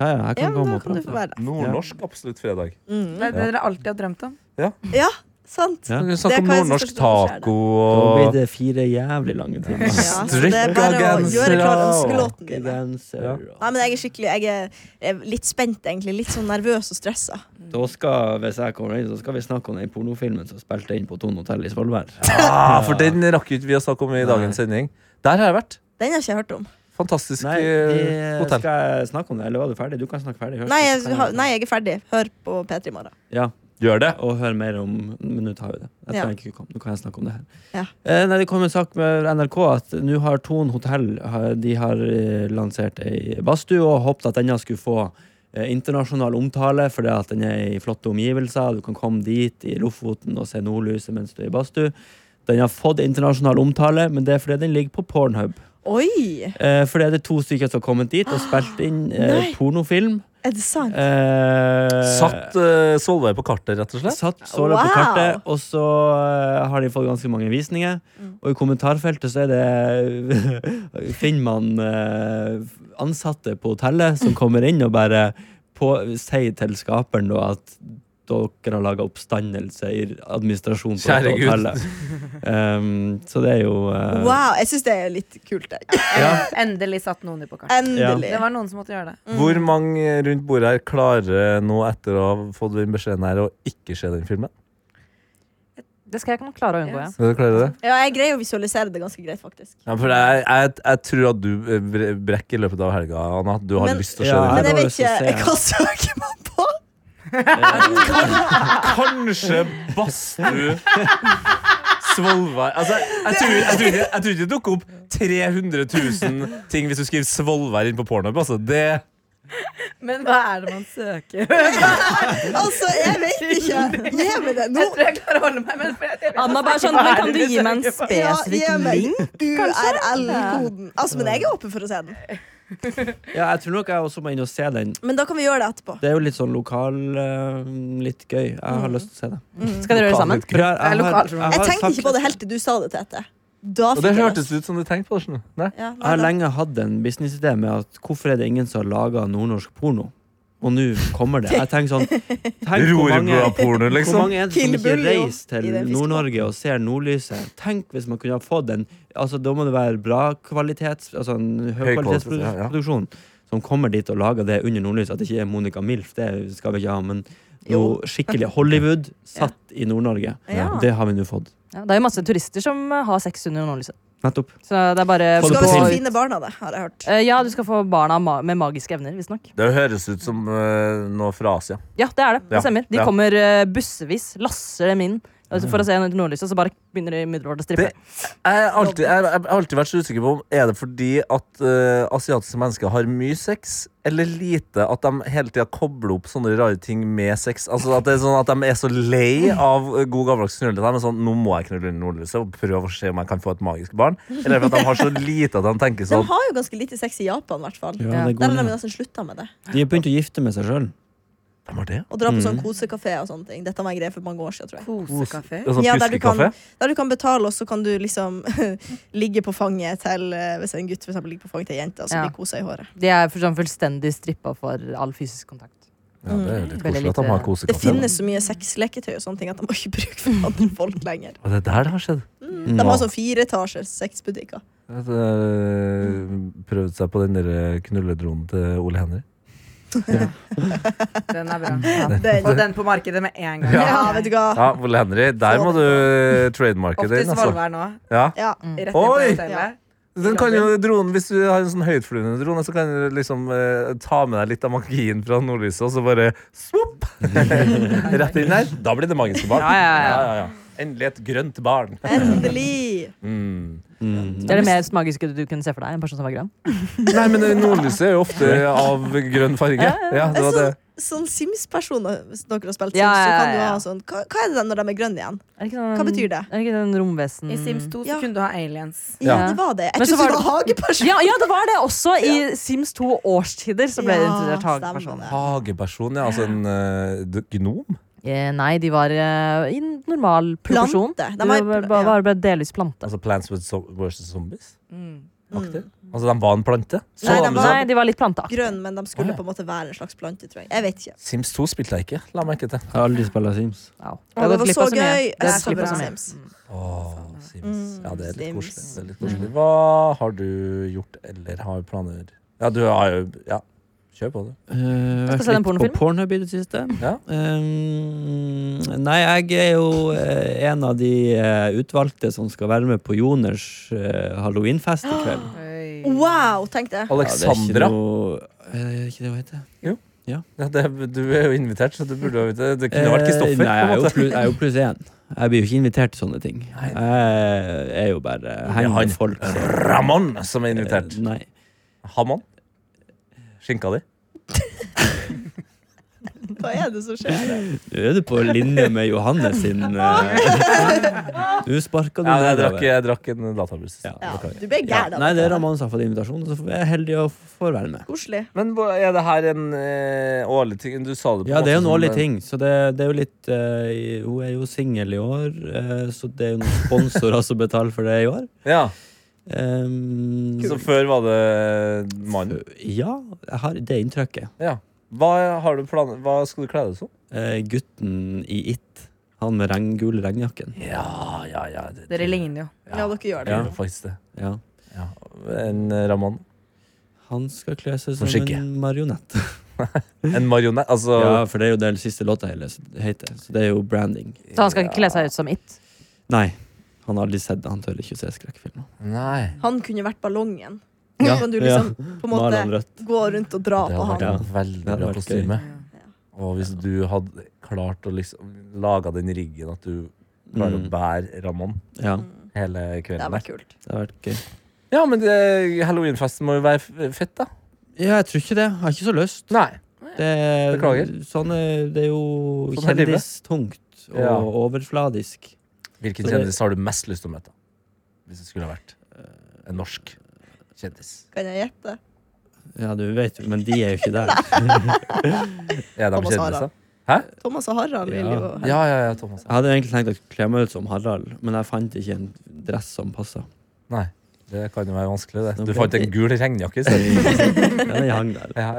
ja, ja jeg kan
Ja, men
komme
da
og
kan du få
prate.
være det.
Nordnorsk absolutt fredag.
Det er det dere alltid har drømt om.
Ja, sant.
Ja.
Vi
Det
snakker
er
om
hva jeg
nordnorsk
synes er det.
taco
Da blir
og
det fire jævlig lange timer.
Ja, så det er bare å gjøre klar ønskelåten din.
Strikkedansere.
Nei, men jeg er skikkelig Jeg er- jeg er litt spent, egentlig. Litt sånn nervøs og stressa.
Da skal, hvis jeg kommer inn, så skal vi snakke om den pornofilmen som spilte inn på Ton hotell i Svolvær.
ah, For den rakk ikke vi å snakke om i dagens sending. Der har jeg vært.
Den har ikke jeg hørt om.
Fantastisk
Nei,
eh,
det-
hotell.
skal jeg snakke om det, eller var du ferdig? Du kan snakke ferdig. først,
Nei
så
jeg,
kan
har- nei, jeg er ferdig. Hør på P3 i morgen.
Ja,
Gjør det.
og høre mer om Men nå tar vi det. Jeg
Ja.
trenger ikke komme. Nå kan jeg snakke om det her.
Ja.
Eh, nei, det kom en sak med NRK at nå har Thon hotell har- De har eh, lansert ei badstue og håpet at denne skulle få eh, internasjonal omtale fordi at den er i flotte omgivelser. Du kan komme dit i Lofoten og se nordlyset mens du er i badstue. Den har fått internasjonal omtale, men det er fordi den ligger på Pornhub.
Oi!
Eh, for det er det to stykker som har kommet dit og spilt inn eh,
Nei.
pornofilm.
Er det sant?
Eh,
Satt eh, Solveig på kartet, rett og slett?
Satt såla
Wow.
på kartet, og så eh, har de fått ganske mange visninger.
Mm.
Og i kommentarfeltet så er det Finner man eh, ansatte på hotellet som kommer inn og bare på, sier til skaperen da at dere har laga oppstandelse i administrasjonen på
Kjære
dette
Gud.
hotellet. Um, så det er jo eh,
Wow, jeg syns det er litt kult. Jeg.
Ja.
Endelig satt noen på kartet.
Endelig.
Det var noen som måtte gjøre
Mm.
det.
Hvor mange rundt bordet her klarer nå etter å ha fått den beskjeden her å ikke se den filmen?
Det skal jeg ikke klare å unngå. Ja.
Yes.
Dere klarer det?
Ja, jeg greier å visualisere det ganske greit, faktisk.
Ja, for jeg, jeg, jeg tror at du eh, bre- brekker i løpet av helga, Anna. Du har
Men-
lyst til å se
Ja,
den.
Men jeg
var
vet
lyst til å
ikke
se.
Hva søker man på?
Kanskje Bastu Svolvær altså, jeg, tror, jeg, tror ikke, jeg tror ikke det dukker opp 300 000 ting hvis du skriver Svolvær inn på pornhub. Altså. Det,
Men hva er det man søker?
Altså, jeg vet ikke. Gi meg det nå.
Jeg tror jeg klarer å holde meg, men for jeg- jeg vet
Anna bare
ikke hva
sånn, men
er
kan
det
du gi
søker
meg en
på.
Ja, gi
spesifikk
meg
link?
URL-koden. Altså, men jeg er åpen for å se den.
Ja, jeg tror nok jeg også må inn og se den.
Men da kan vi gjøre det etterpå.
Det er jo litt sånn lokal eh, Litt gøy. Jeg har lyst til å se det.
Skal dere gjøre det sammen?
For jeg- jeg
Det er
har-
lokalt, tror jeg.
har
Mm. Jeg tenkte
faktisk-
ikke på det helt til du sa det, Tete. Da
og
fikk
det
jeg
hørtes ut som du tenkte på det. skjønner du. Nei.
Ja,
Jeg har
nei,
lenge hatt en businessidé med at hvorfor er det ingen som har laga nordnorsk porno? Og nå kommer det. Jeg tenker sånn tenk hvor, mange,
Rorbua-porno,
hvor
liksom.
mange er det som
Kill
ikke
Bill, jo,
reiser til
i den fisken.
Nord-Norge og ser nordlyset? Tenk hvis man kunne ha fått en altså, Da må det være bra kvalitets, altså en
kvalitet, ja, ja.
høykvalitetsproduksjon som kommer dit og lager det under nordlyset. At det ikke er Monica Milf, det skal vi ikke ha. Men
Jo.
noe skikkelig Hollywood satt i Nord-Norge.
Ja.
Det har vi nå fått.
Ja, det er jo masse turister som eh, har sex under nordlyset.
Nettopp.
Så det er bare
Få
da.
det
Skal vi
på-
så fine barna det, har jeg hørt.
Eh, Ja, du skal få barna ma- med magiske evner, visstnok.
Det høres ut som eh, noe fra Asia.
Ja, det er det.
Ja,
Det stemmer. De
ja.
kommer eh, bussevis, lasser dem inn altså, for å se under nordlyset, så bare begynner de umiddelbart å strippe.
Det- Jeg har alltid, jeg, jeg, har alltid vært så usikker på om er det fordi at eh, asiatiske mennesker har mye sex, eller lite. At de hele tida kobler opp sånne rare ting med sex. Altså At det er sånn at de er så lei av eh, god gammeldags knullete. De er sånn, nå må jeg knulle under nordlyset og prøve å se om jeg kan få et magisk barn. Eller for at de har så lite at de tenker
De
sånn
har jo ganske lite sex i Japan, i hvert fall.
Ja,
Der
det går
har de
ned.
nesten slutta med det.
De har begynt å gifte med seg sjøl.
De har det?
Og dra på sånn kosekafé og sånne ting. Dette var en greie for mange år siden, tror jeg.
Kosekafé?
Det er sånn
Ja, der du kan-
puskekaffe?
Der du kan betale, og så kan du liksom ligge på fanget til eh, Hvis en gutt for eksempel, ligger på fanget til ei jente, og så
Ja.
blir kosa i håret.
De er for sånn fullstendig strippa for all fysisk kontakt.
Ja, det er jo litt
Veldig
koselig at de har
lite-
kosekaffe.
Mm, Det finnes så mye sexleketøy og sånne ting at de har ikke bruk for andre folk lenger.
Og det er der det har skjedd.
De har sånn fireetasjers sexbutikker.
At, eh, Prøvd seg på den der knulledronen til Ole Henry.
Den er bra.
Den-
Få den på markedet med en gang.
Ja, vet du hva.
Ja, Ole Henry, der må du trademarke
Opp til
den. Altså.
Svolvær nå.
Ja.
Ja.
Rett inn på
Oi!
hotellet.
Den kan jo dronen, Hvis du har en sånn høytflyvende drone, så kan du liksom eh, ta med deg litt av magien fra nordlyset, og så bare svopp! Rett inn der. Da blir det magiske barn.
Ja, ja, ja.
Ja, ja, ja. Endelig et grønt barn.
Endelig!
Mm.
Det er det mest magiske du kunne se for deg? En person som var grønn?
Nei, men eh, nordlyset er jo ofte av grønn farge. Ja, det var det.
Sånn, sånn Sims-personer, hvis dere har spilt Sims,
Ja,
så
ja,
kan du
ja, ja.
ha sånn Hva, hva er det når de er grønne igjen?
Er det ikke sånn,
Hva betyr det?
Er det ikke den romvesen
I Sims 2 så
Ja.
kunne du ha aliens.
Ja,
Ja.
det var det. Jeg
Men så
trodde det
var
var hageperson.
Ja, ja, det var det også! I Sims 2 Årstider så ble det
Ja,
inkludert
stemmer
hageperson.
det.
Hageperson, ja. Altså en eh, d- gnom?
Eh, nei, de var eh, i normal proporsjon.
Plante.
De
De var-
var, bare- bare- bare delvis plante.
Altså Plants with so versus Zombies?
Mm.
Altså, de var en plante? Så
Nei, de
annerledes
var-
Sånn. Nei, de var litt planteaktige.
Grønn, men de
Å,
skulle
ja.
på en måte være en slags plante, tror jeg. Jeg vet ikke.
Sims 2 spilte jeg ikke. La meg ikke til.
Jeg har aldri spilla Sims.
Au.
Å, det var så gøy. Jeg
Det
så bra Sims.
Åh,
Sånn,
Sims.
Mm,
Ja, det er litt
Sims.
koselig. Det er litt koselig. Hva har du gjort eller har planer Ja, du har jo Ja, kjør på, du.
Uh,
Jeg skal
vært
se den
litt på
pornofilmen.
Pornhub i det siste.
Ja.
Um, nei, jeg er jo eh, en av de eh, utvalgte som skal være med på Joners eh, halloweenfest i kveld.
Oi.
Wow, tenkte jeg.
Alexandra.
Ja, det er ikke, noe, eh, er ikke det hun heter?
Ja, det, du er jo invitert, så du burde ha vite Det kunne vært
Eh,
Kristoffer,
Nei,
på
jeg er
en
jo
måte.
plu- jeg er jo pluss én. Jeg blir jo ikke invitert til sånne ting.
Nei.
Jeg er jo bare henger
han.
med folk. som-
Ramon som er invitert.
Eh, Nei.
Hamon. Skinka di.
Hva er det som skjer?
Nå er du på linje med Johannes sin eh, Nå sparka du
Ja, men jeg
nedover.
drakk, jeg drakk en databrus.
Ja,
Ja,
beklager.
du ble
Ja,
gæren av
nei, det er
dette.
Ramón som har fått invitasjon, så jeg er heldig og får være med.
Koselig.
Men hva- er det her en eh, årlig ting? Du sa det på
Ja, det er jo en
måte
årlig
som-
ting, så det, det er jo litt eh, i- Hun er jo singel i år, eh, så det er jo noen sponsorer som betaler for det i år.
Ja,
Ehm,
Så før var det mann.
ja, jeg har det inntrykket.
Ja. Hva, har du planer? Hva skal du kle deg som?
Eh, gutten i It, han med regn, gul regnjakken.
Ja, ja, ja. Det,
Dere ligner jo.
Ja, dere gjør det.
Ja, faktisk det.
Ja.
Ja. En eh, Ramón.
Han skal kle seg
Som
som
skikke.
en marionett.
En marionett? Altså
Ja, for det er jo den siste låta hele- heter, så det er jo branding.
Så han skal ikke kle seg ut som It.
Nei, han har aldri sett det. Han tør ikke å se skrekkfilmer.
Nei.
Han kunne vært ballongen.
Ja.
Kan du liksom på en
Male han
måte
rødt.
gå rundt og dra
Det
på
hadde vært
han?
Ja.
en veldig
Det hadde
bra
vært
kostyme.
gøy.
Og hvis du hadde klart å liksom lage den riggen at du klarer
Mm.
å bære Ramón
Ja,
hele
Det hadde
kvelden der.
vært kult.
det har vært gøy.
Ja, men det- halloweenfesten må jo være f- fett, da.
Ja, jeg tror ikke det. Jeg har ikke så lyst.
Nei.
Det er,
Beklager.
Sånn er, det er jo
Sånn er livet.
kjendistungt og
Ja.
overfladisk.
Hvilken
Så det-
kjendis har du mest lyst til å møte? Hvis det skulle ha vært
Eh,
en norsk kjendis.
Kan jeg gjette?
Ja, du vet jo, men de er jo ikke der.
Er de
Thomas
kjendiser?
Harald. Thomas og Harald vil
Ja.
jo
Ja, ja, ja, Thomas.
Jeg hadde egentlig tenkt å kle meg ut som Harald, men jeg fant ikke en dress som passa.
Nei, det kan jo være vanskelig, det.
Nå
Du
ble
fant en
det-
gul regnjakke i stedet.
Den hang der.
Ja.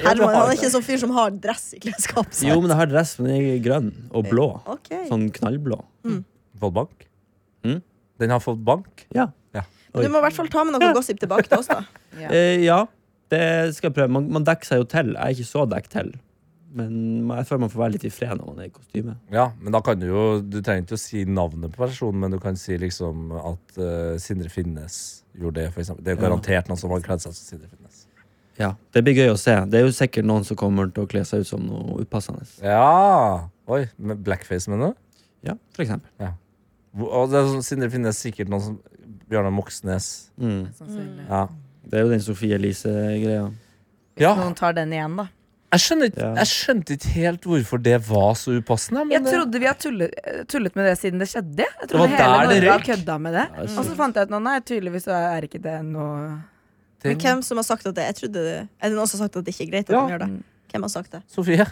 Herman han er ikke en sånn fyr som har dress i klesskapet.
Jo, men jeg har dress, men den er grønn og blå.
Ok.
Sånn knallblå.
Fått bank?
Mm.
Den har fått bank?
Ja.
Men du må i hvert fall ta med noe gossip tilbake til oss, da.
Ja.
Eh, ja, det skal jeg prøve. Man, man dekker seg jo til. Jeg er ikke så dekket til. Men jeg føler man får være litt i fred når man er i kostyme.
Ja, men da kan du jo Du trenger ikke å si navnet på personen, men du kan si liksom at eh, Sindre Finnes gjorde det, for eksempel. Det er jo
Ja.
garantert noen som har kledd seg som Sindre Finnes.
Ja, Det blir gøy å se. Det er jo sikkert noen som kommer til å kle seg ut som noe upassende.
Ja! Oi, med blackface, mener du?
Ja, for eksempel.
Hvor- Og det er sånn, Sindre Finnes sikkert noen som Bjørnar Moxnes.
Mm.
Sannsynlig.
Ja.
Det er jo den Sofie Elise-greia.
ja.
Noen tar den igjen, da.
Jeg, skjønner ikke,
Ja.
jeg skjønte ikke helt hvorfor det var så upassende.
Jeg
Men det-
trodde vi hadde tullet, eh, tullet med det siden det skjedde. Jeg
var
trodde hele
der det
Norge hadde
røyk.
kødda med det.
Ja, jeg
Og så fant jeg ut nå, nei, tydeligvis så er ikke det noe
Men hvem som har sagt at det? Jeg trodde det Er det noen som har sagt at det ikke er greit at
Ja.
de gjør det? Hvem har sagt det?
eh, Sofie.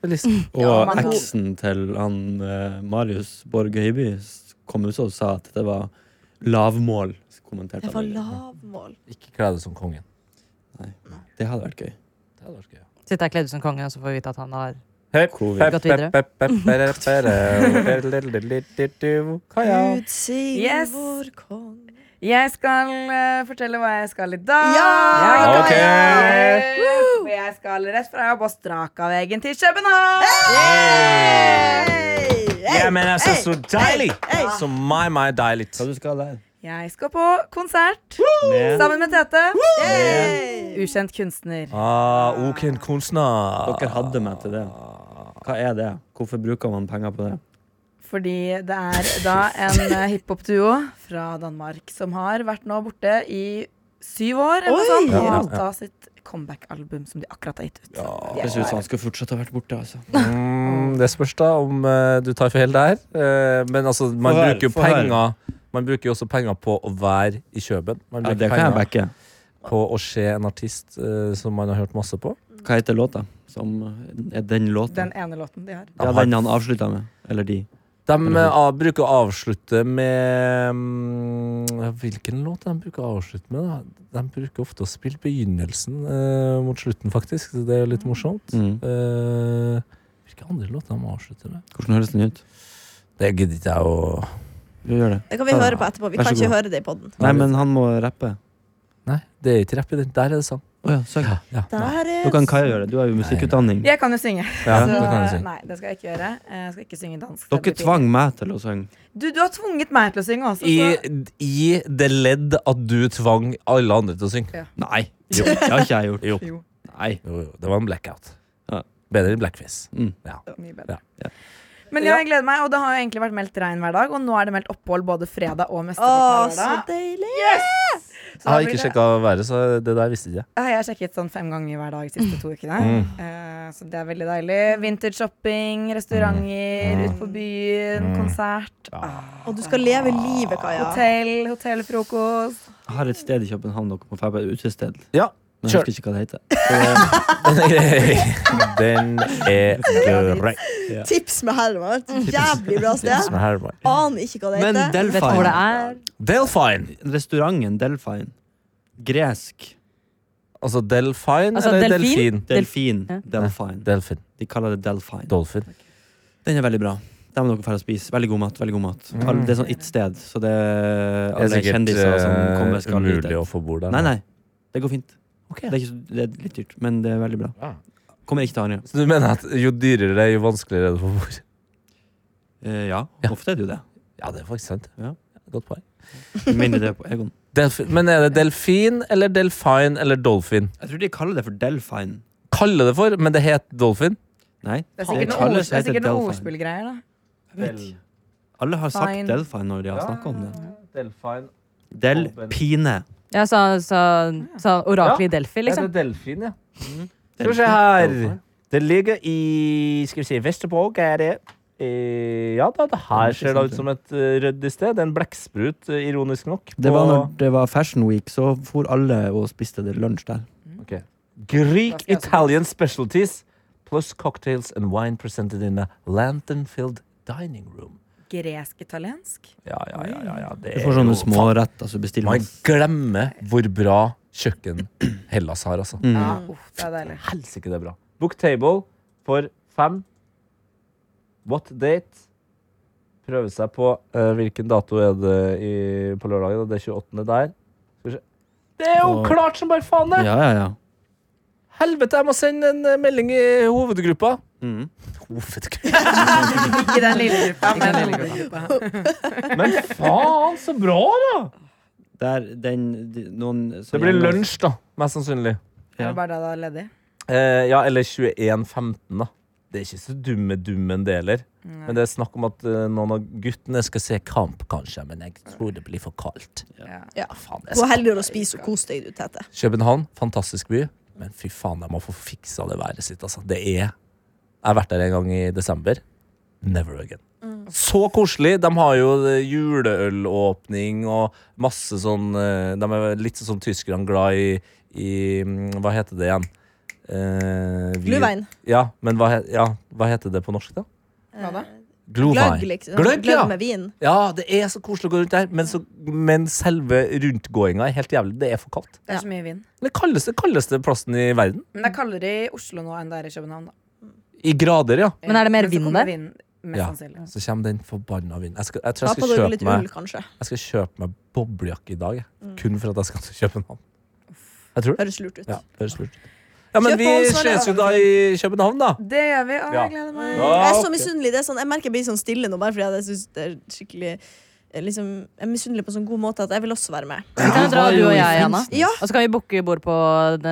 liksom Elise.
Ja,
Og
men hun-
eksen til han eh, Marius Borg Høiby s- kom ut og sa at det var lavmål. Så kommenterte
Det var
han det.
lavmål.
Ikke kle deg som kongen.
Det hadde vært gøy.
Det hadde vært gøy. ja.
Sitter jeg kledd ut som kongen, og så får vi vite at han har
Hep,
Covid.
hep,
Gått
hep,
videre.
hep, hep, hep, hep, hep. Kaja.
Gud signe
Yes.
vår konge
Jeg skal eh, fortelle hva jeg skal i dag.
Ja,
Jeg
ok.
skal- For Jeg skal rett fra jobb og straka veien til København.
Hey, hey,
Ja, men altså, så deilig!
hey.
Så my, my deilig.
Hva du skal der?
Jeg skal på konsert sammen med Tete.
hey.
Ukjent kunstner.
Ah, ok, en kunstner.
Dere hadde meg til det. Hva er det? Hvorfor bruker man penger på det?
Fordi det er da en eh, hiphop-duo fra Danmark som har vært nå borte i syv år. Eller
Oi!
noe sånt. De
Ja,
har
ja.
da sitt comeback-album som de akkurat har gitt ut. De er
Det ser ut som
klare.
han skal fortsette å ha vært borte. altså.
Mm, det spørs da om eh, du tar feil der. Eh, men altså, man
Få høre,
bruker jo
få høre.
penger Man bruker jo også penger på å være i Kjøben. Man
Ja,
bruker
det kan jeg
penger
backe.
på å se en artist eh, som man har hørt masse på.
Hva heter låta? Som eh, er den låta?
Den ene låten de har.
Ja, den han avslutta med. Eller de.
De eh, av, bruker å avslutte med mm, Hvilken låt de bruker å avslutte med? da? De bruker ofte å spille begynnelsen eh, mot slutten, faktisk. Så det er jo litt morsomt.
Mm.
Eh, hvilke andre låter de avslutter med?
Hvordan høres den ut?
Det gidder ikke jeg å
Du gjør det.
Det kan vi høre på etterpå. Vi
Vær så
kan ikke
god.
høre det i poden.
Nei, men han må rappe.
Nei, det er ikke rapp i den. Der er det sang.
Å ja, søk.
Ja.
Da kan Kaja gjøre det. Du har jo musikkutdanning.
Jeg kan jo synge.
Ja,
så
det kan jeg si.
nei, det skal jeg ikke gjøre. Eh, Jeg skal ikke synge dansk. Det blir
Dere tvang meg til å synge.
pinlig. Du, du har tvunget meg til å synge også.
I,
Så.
I det ledd at du tvang alle andre til å synge.
Nei. Jo, det har ikke jeg gjort.
Jo.
Nei.
Jo, jo, det var en blackout.
Ja.
Bedre enn blackface.
Mm.
Ja.
Mye bedre.
Ja.
Men ja, jeg gleder meg, og det har jo egentlig vært meldt regn hver dag. Og nå er det meldt opphold både fredag og
Å,
mesteparten av
så
lørdag.
deilig!
Yes!
Jeg
Så da
har
blir
ikke
det-
sjekka været, så det der visste ikke jeg.
Ja, Jeg har sjekket sånn fem ganger hver dag de siste to ukene. Eh, så det er veldig deilig. Vintage-shopping, restauranter, ut på byen, konsert. Ah,
Og du skal leve livet, Kaja.
Hotell, hotellfrokost.
Jeg har et sted i København dere må dra på. Et utested.
Ja,
Men jeg
Sure.
husker ikke hva det heter.
Den er grei.
Tips med Herman. Et Jævlig bra sted. Aner ikke hva det
Men
heter.
Vet du
Delfine.
hvor det er?
Delfine.
Restauranten Delfine. Gresk.
Altså delfine
Altså,
eller
delfin?
delfin?
Delfin.
Ja.
Delfine.
Delfin.
De kaller det Delfine.
Dolphin.
Den er veldig bra. Der må dere dra og spise. Veldig god mat. veldig god mat. Alle- Det er sånn ett-sted, så det
Mm. Det
er
er
alle
sikkert
kjendiser som kommer
eh,
skal dit.
umulig å få bord der.
Nei, nei. Det går fint. Det, er ikke, så- det er litt dyrt, men det er veldig bra.
Ja.
Kommer ikke til Arne.
Så du mener at jo dyrere det er, jo vanskeligere er det å få bord?
Eh, ja,
Ja.
ofte er det jo det.
Ja, det er faktisk sant.
Ja.
Godt poeng.
Med Mindre det er på Egon.
Delfin. Men er det delfin eller delfine eller dolphin?
Jeg tror de kaller det for Delfine.
Kalle det for, men det het dolphin.
Nei,
Det er sikkert noen, ord,
kalles-
det er sikkert noen
Delfine.
ordspillgreier, da.
Jeg vet. Alle har sagt
Fine.
Delfine når de har snakket om det.
Delfine.
Delpine.
Jeg sa, sa, sa oraklet i Delphi,
Er
liksom.
det delfin, ja? Skal vi se her.
Delfine.
Det ligger i Skal vi si Vesterborg, er det Eh, Ja da, det her ser da ut som et eh, ryddig sted. En blekksprut, eh, ironisk nok.
Det var
på-
når det var Fashion Week, så for alle og spiste det lunsj der.
Greek Italian specialties plus cocktails and wine presented in a lantern-filled dining room.
Gresk-italiensk.
Ja, ja, ja. ja, ja. Det
Du får sånne små retter som bestiller
Man
man.
glemmer hvor bra kjøkken Hellas har, altså.
Mm.
Ja, uff, det er deilig.
Helsike, det er bra. Book table for fem. What date? Prøve seg på eh, hvilken dato er det i, på lørdagen. Det er 28. der. Skal vi se. Det er jo
Og-
klart som bare faen, det!
Ja, ja, ja.
Helvete, jeg må sende en eh, melding i hovedgruppa.
Mm.
Hovedgruppa?
Ikke den lille gruppa, men den lille gruppa.
Men faen, så bra, da!
Der, den, de, noen,
Det blir lunsj, da. Mest sannsynlig.
Er det bare da det er ledig?
Eh, ja, eller 21.15, da. Det er ikke så dumme dummen det heller. Men det er snakk om at eh, noen av guttene skal se kamp, kanskje. Men jeg tror det blir for kaldt.
Ja.
Ja.
Faen, jeg
Gå
skal.
heller og spis og kos deg, du, Tete.
København, fantastisk by. Men fy faen, de må få fiksa det været sitt. Altså. Det er Jeg har vært der en gang i desember. Never again. Så koselig! De har jo eh, juleølåpning og masse sånn eh, De er litt sånn som tyskerne glad i, i mm, Hva heter det igjen? Eh, vi-
Gluvein.
ja, men hva, he- ja, hva heter det på norsk, da?
Hva da?
Eh, Gløgg,
Glovein.
liksom.
Gløgg, ja.
Gløgg med vin.
ja, det er så koselig å gå rundt der, men, så, men selve rundtgåinga er helt jævlig. Det er for kaldt.
Det er så mye vind.
Den kaldeste, kaldeste plassen i verden.
Men det er kaldere i Oslo nå enn det er i København. Da.
I grader, ja.
Men er det mer
så
vind
kommer
der?
vind, Mest
Ja.
sannsynlig.
Så kommer den forbanna vinden. Jeg, skal, jeg tror
Ta
jeg
på
skal,
dere
kjøpe
litt
meg,
ull, Mm. kanskje.
jeg skal kjøpe meg boblejakke i dag, jeg. kun for at jeg skal til København. Jeg tror det.
Høres lurt ut.
Ja, høres lurt ut. Ja, men
Kjøp
vi
på Holmsland,
ses jo
da.
da i København, da.
Det gjør vi. Å,
Ja.
jeg gleder meg.
Ja.
Jeg er så
ok.
misunnelig. Det er sånn, jeg merker jeg blir sånn stille nå, bare fordi at jeg synes det er skikkelig eh, liksom, Jeg er misunnelig på en sånn god måte at jeg vil også være med.
Vi kan jo dra,
var
du
jo
og
i
jeg, Anna.
Finnsnes.
Ja.
Og så kan vi booke bord på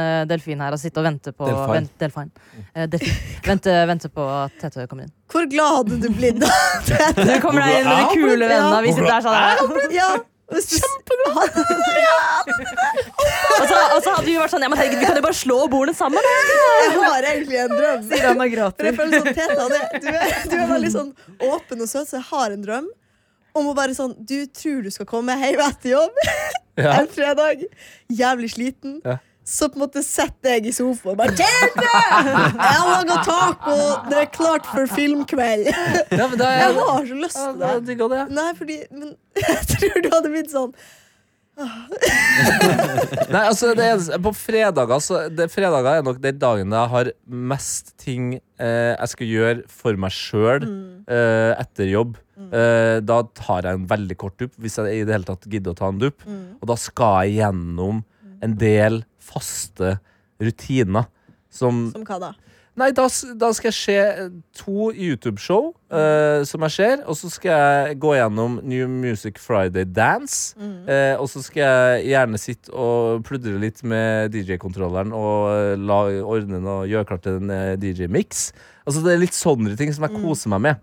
eh, Delfin her og sitte og vente på
Delfin.
Delfin. delfin. Eh, delfin. Vente, vente på at Tete kommer inn.
Hvor glad hadde du blitt da?
Du kommer deg inn med de kule vennene. Vi sitter der sånn
ja, hvis du- Hadde du det?
Og så, og så hadde vi vært sånn Ja, men herregud, vi kan jo bare slå bordene sammen. da.
Jeg har egentlig en drøm.
Sier han og
For jeg
gråter.
føler sånn, Teta, det, du, er, du er veldig sånn åpen og søt, så jeg har en drøm om å bare sånn Du tror du skal komme hjem etter jobb
Ja.
en fredag, jævlig sliten.
Ja.
Så på en måte setter jeg i sofaen og bare Tete! Jeg har laga taco! Det er klart for filmkveld.
Ja, men da
Jeg
er
har så lyst til det.
jeg digga det.
Nei, fordi Men jeg tror du hadde blitt sånn.
Nei, altså det eneste, På fredager så, det, Fredager er nok den dagen jeg har mest ting eh, jeg skal gjøre for meg sjøl eh, etter jobb. Eh, da tar jeg en veldig kort dupp, hvis jeg i det hele tatt gidder å ta en dupp. Og da skal jeg gjennom en del faste rutiner. Som,
Som hva da?
Nei, da, s- da skal jeg se eh, to YouTube-show eh, som jeg ser, og så skal jeg gå gjennom New Music Friday Dance.
Mm.
eh, og så skal jeg gjerne sitte og pludre litt med DJ-kontrolleren og eh, la, eh,
Mm.
ordne den og gjøre klart til en DJ-mix. Altså Det er litt sånne ting som jeg koser meg med.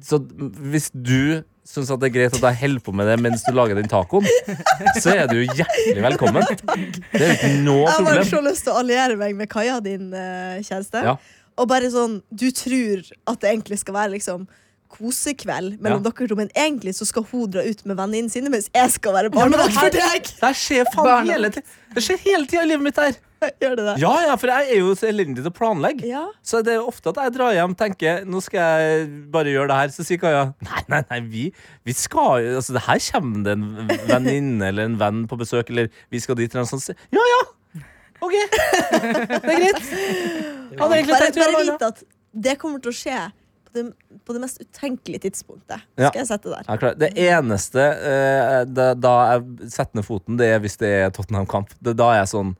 så hvis du syns at det er greit at jeg holder på med det mens du lager den tacoen, så er du hjertelig velkommen. Det er jo ikke noe
Jeg har bare
problem.
så lyst til å alliere meg med Kaja, din eh, kjæreste.
Ja.
Og bare sånn, du tror at det egentlig skal være liksom kosekveld mellom
Ja.
dere to, men egentlig så skal hun dra ut med venninnene sine, mens jeg skal være barnevakt for deg!
Det her skjer faen
Barna.
hele tida. Det skjer hele tida i livet mitt her.
Gjør det det?
Ja, ja, for jeg er jo så elendig til å planlegge.
Ja.
Så det er jo ofte at jeg drar hjem og tenker Nå skal jeg bare gjøre det her. Så sier Kaja nei, nei, nei, vi, vi skal jo altså, det Her kommer det en venninne eller en venn på besøk, eller vi skal dit. Eller noe sånt. Så, Ja, ja! OK. Det er greit. Jeg hadde egentlig
Bare,
tenkt å gjøre
bare
noe annet.
vit at det kommer til å skje på det, på det mest utenkelige tidspunktet.
Ja.
Skal jeg sette der.
Jeg er klar. Det eneste eh, da, da jeg setter ned foten, det er hvis det er Tottenham-kamp. Det- Da er jeg sånn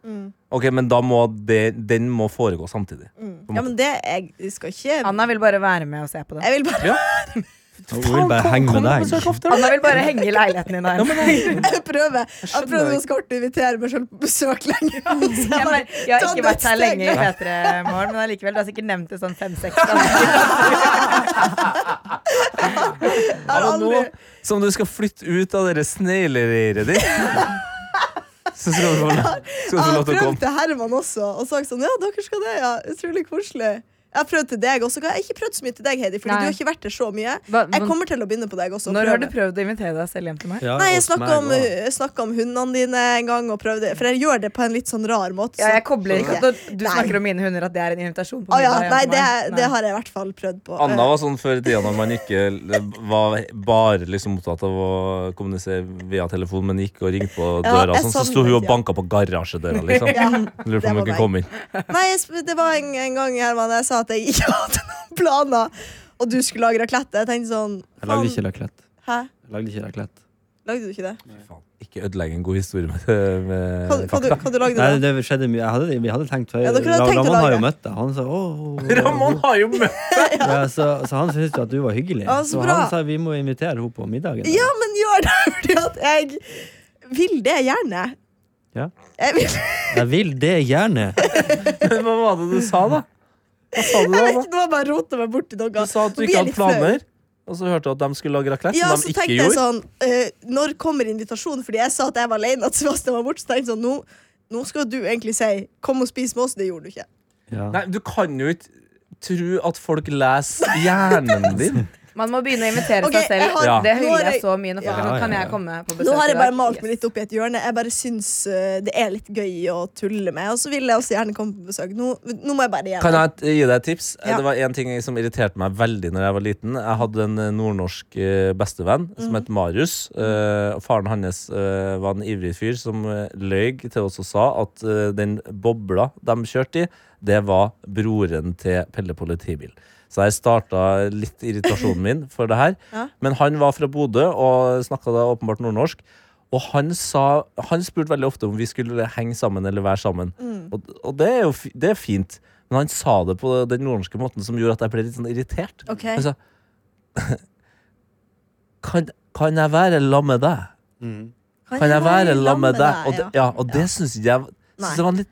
OK, men da må det, den må foregå samtidig.
Ja, men det jeg, jeg skal ikke
Anna vil bare være med og se på det.
Jeg vil bare
Hun vil bare henge
Kom
med
på
deg.
besøk ofte, da.
Anna vil bare henge i leiligheten din her.
prøve. Jeg
skjønner
prøver
ikke.
ganske hardt å invitere meg selv på besøk lenger. Så
Jeg,
jeg
bare,
bare-
jeg har
Ta
ikke
det
vært her
et steg
lenge i P3 Morgen, men allikevel, du har sikkert nevnt det sånn fem-seks ganger.
jeg har
Ja, men
aldri
nå som du skal flytte ut av det sneglereiret ditt, så skal du få, skal du få
Jeg har
lov til å
prøvd
komme.
til Herman også og sagt sånn Ja, dere skal det, ja. Utrolig koselig. Jeg har prøvd til deg også. Jeg har ikke prøvd så mye til deg, Heidi, Fordi
Nei.
du har ikke vært der så mye.
Hva-
Jeg
men-
kommer til å begynne på deg også. og
Når har du
prøve.
prøvd å invitere deg selv hjem til meg?
Ja,
Nei, jeg
hos
snakka
meg
om, uh,
også.
jeg snakket om hundene dine en gang, og prøvde, for jeg gjør det på en litt sånn rar måte.
Ja,
så-
jeg kobler ikke at du- du
Nei.
snakker om mine hunder, at det er en invitasjon. på
Å ja,
middag hjem
nei,
til
det,
meg.
det
Nei.
har jeg i hvert fall prøvd på.
Anna var sånn før i tida når man ikke var bare liksom opptatt av å kommunisere via telefon, men gikk og ringte på
Ja,
døra, og
jeg
sånn, så
savner
sto hun
den
og
tida.
banka på garasjedøra, liksom.
Eh, Ja.
Lurer på om hun
var
kunne
meg.
komme inn.
Nei, jeg sp- det var en, en gang Herman, jeg sa at jeg ikke hadde noen planer, og du skulle lage raclette. Jeg tenkte sånn
Jeg lagde
faen,
ikke Eh, raclette.
Hæ?
Jeg lagde ikke raclette.
Lagde du ikke det?
Fy faen, Ikke ødelegge en god historie med,
Hva,
med
hva, du,
fakta.
hva du lagde
Nei,
du?
det skjedde mye. Jeg hadde, vi hadde tenkt
Ja, dere hadde
Ra-
tenkt å
Ramon har
lage.
jo møtt deg. Han sa åh
Ramón har jo møtt
ja, så, så han syntes jo at du var hyggelig.
Ja, så
så
bra.
han sa vi må invitere henne på middagen.
Ja, men gjør det, fordi at jeg vil det gjerne.
Ja.
Jeg vil
Jeg vil det gjerne.
Hva var det du sa, da? Hva sa du da?
jeg vet
Anna?
ikke, Nå har jeg bare rota meg borti noe.
Du sa at du
Nå blir
ikke
jeg
hadde
litt flau.
planer, og så hørte du at de skulle lage raclette,
Ja,
som
så
de ikke
tenkte jeg
gjorde.
sånn eh, Når kommer invitasjonen? Fordi jeg sa at jeg var alene, at Sebastian var borte. Så tenkte jeg sånn, nå, nå skal du egentlig si 'kom og spis med oss'. Det gjorde du ikke.
Ja.
Nei, du kan jo ikke tro at folk leser hjernen din.
Man må begynne å invitere
Ok,
seg selv.
jeg har-
Ja.
Det
nå har
hyller jeg
jeg-
så mye. Når folk
Ja,
er sånn,
ja,
kan
ja.
jeg komme på besøk
Nå har jeg
i dag?»
bare malt
Yes.
meg litt opp i et hjørne. Jeg bare syns eh, det er litt gøy å tulle med. Og så vil jeg også gjerne komme på besøk. Nå, nå må jeg bare
Kan
igjen.
jeg t- gi deg et tips?
Ja.
Det var en ting som irriterte meg veldig Når jeg var liten. Jeg hadde en eh, nordnorsk eh, bestevenn som het Marius. Eh, og Faren hans eh, var en ivrig fyr som eh, løy til oss og sa at eh, den bobla de kjørte i, det var broren til Pelle politibil. Så jeg starta litt irritasjonen min for det her.
Ja.
Men han var fra Bodø og snakka da åpenbart nordnorsk. Og han, sa, han spurte veldig ofte om vi skulle henge sammen eller være sammen. Og, og det er jo fi- det er fint. Men han sa det på den nordnorske måten som gjorde at jeg ble litt sånn irritert.
Ok.
Han sa kan, kan jeg være lam med deg?
Mm.
Kan jeg være lam med deg? Og det, ja, og det syns ikke jeg
Nei.
synes det var litt,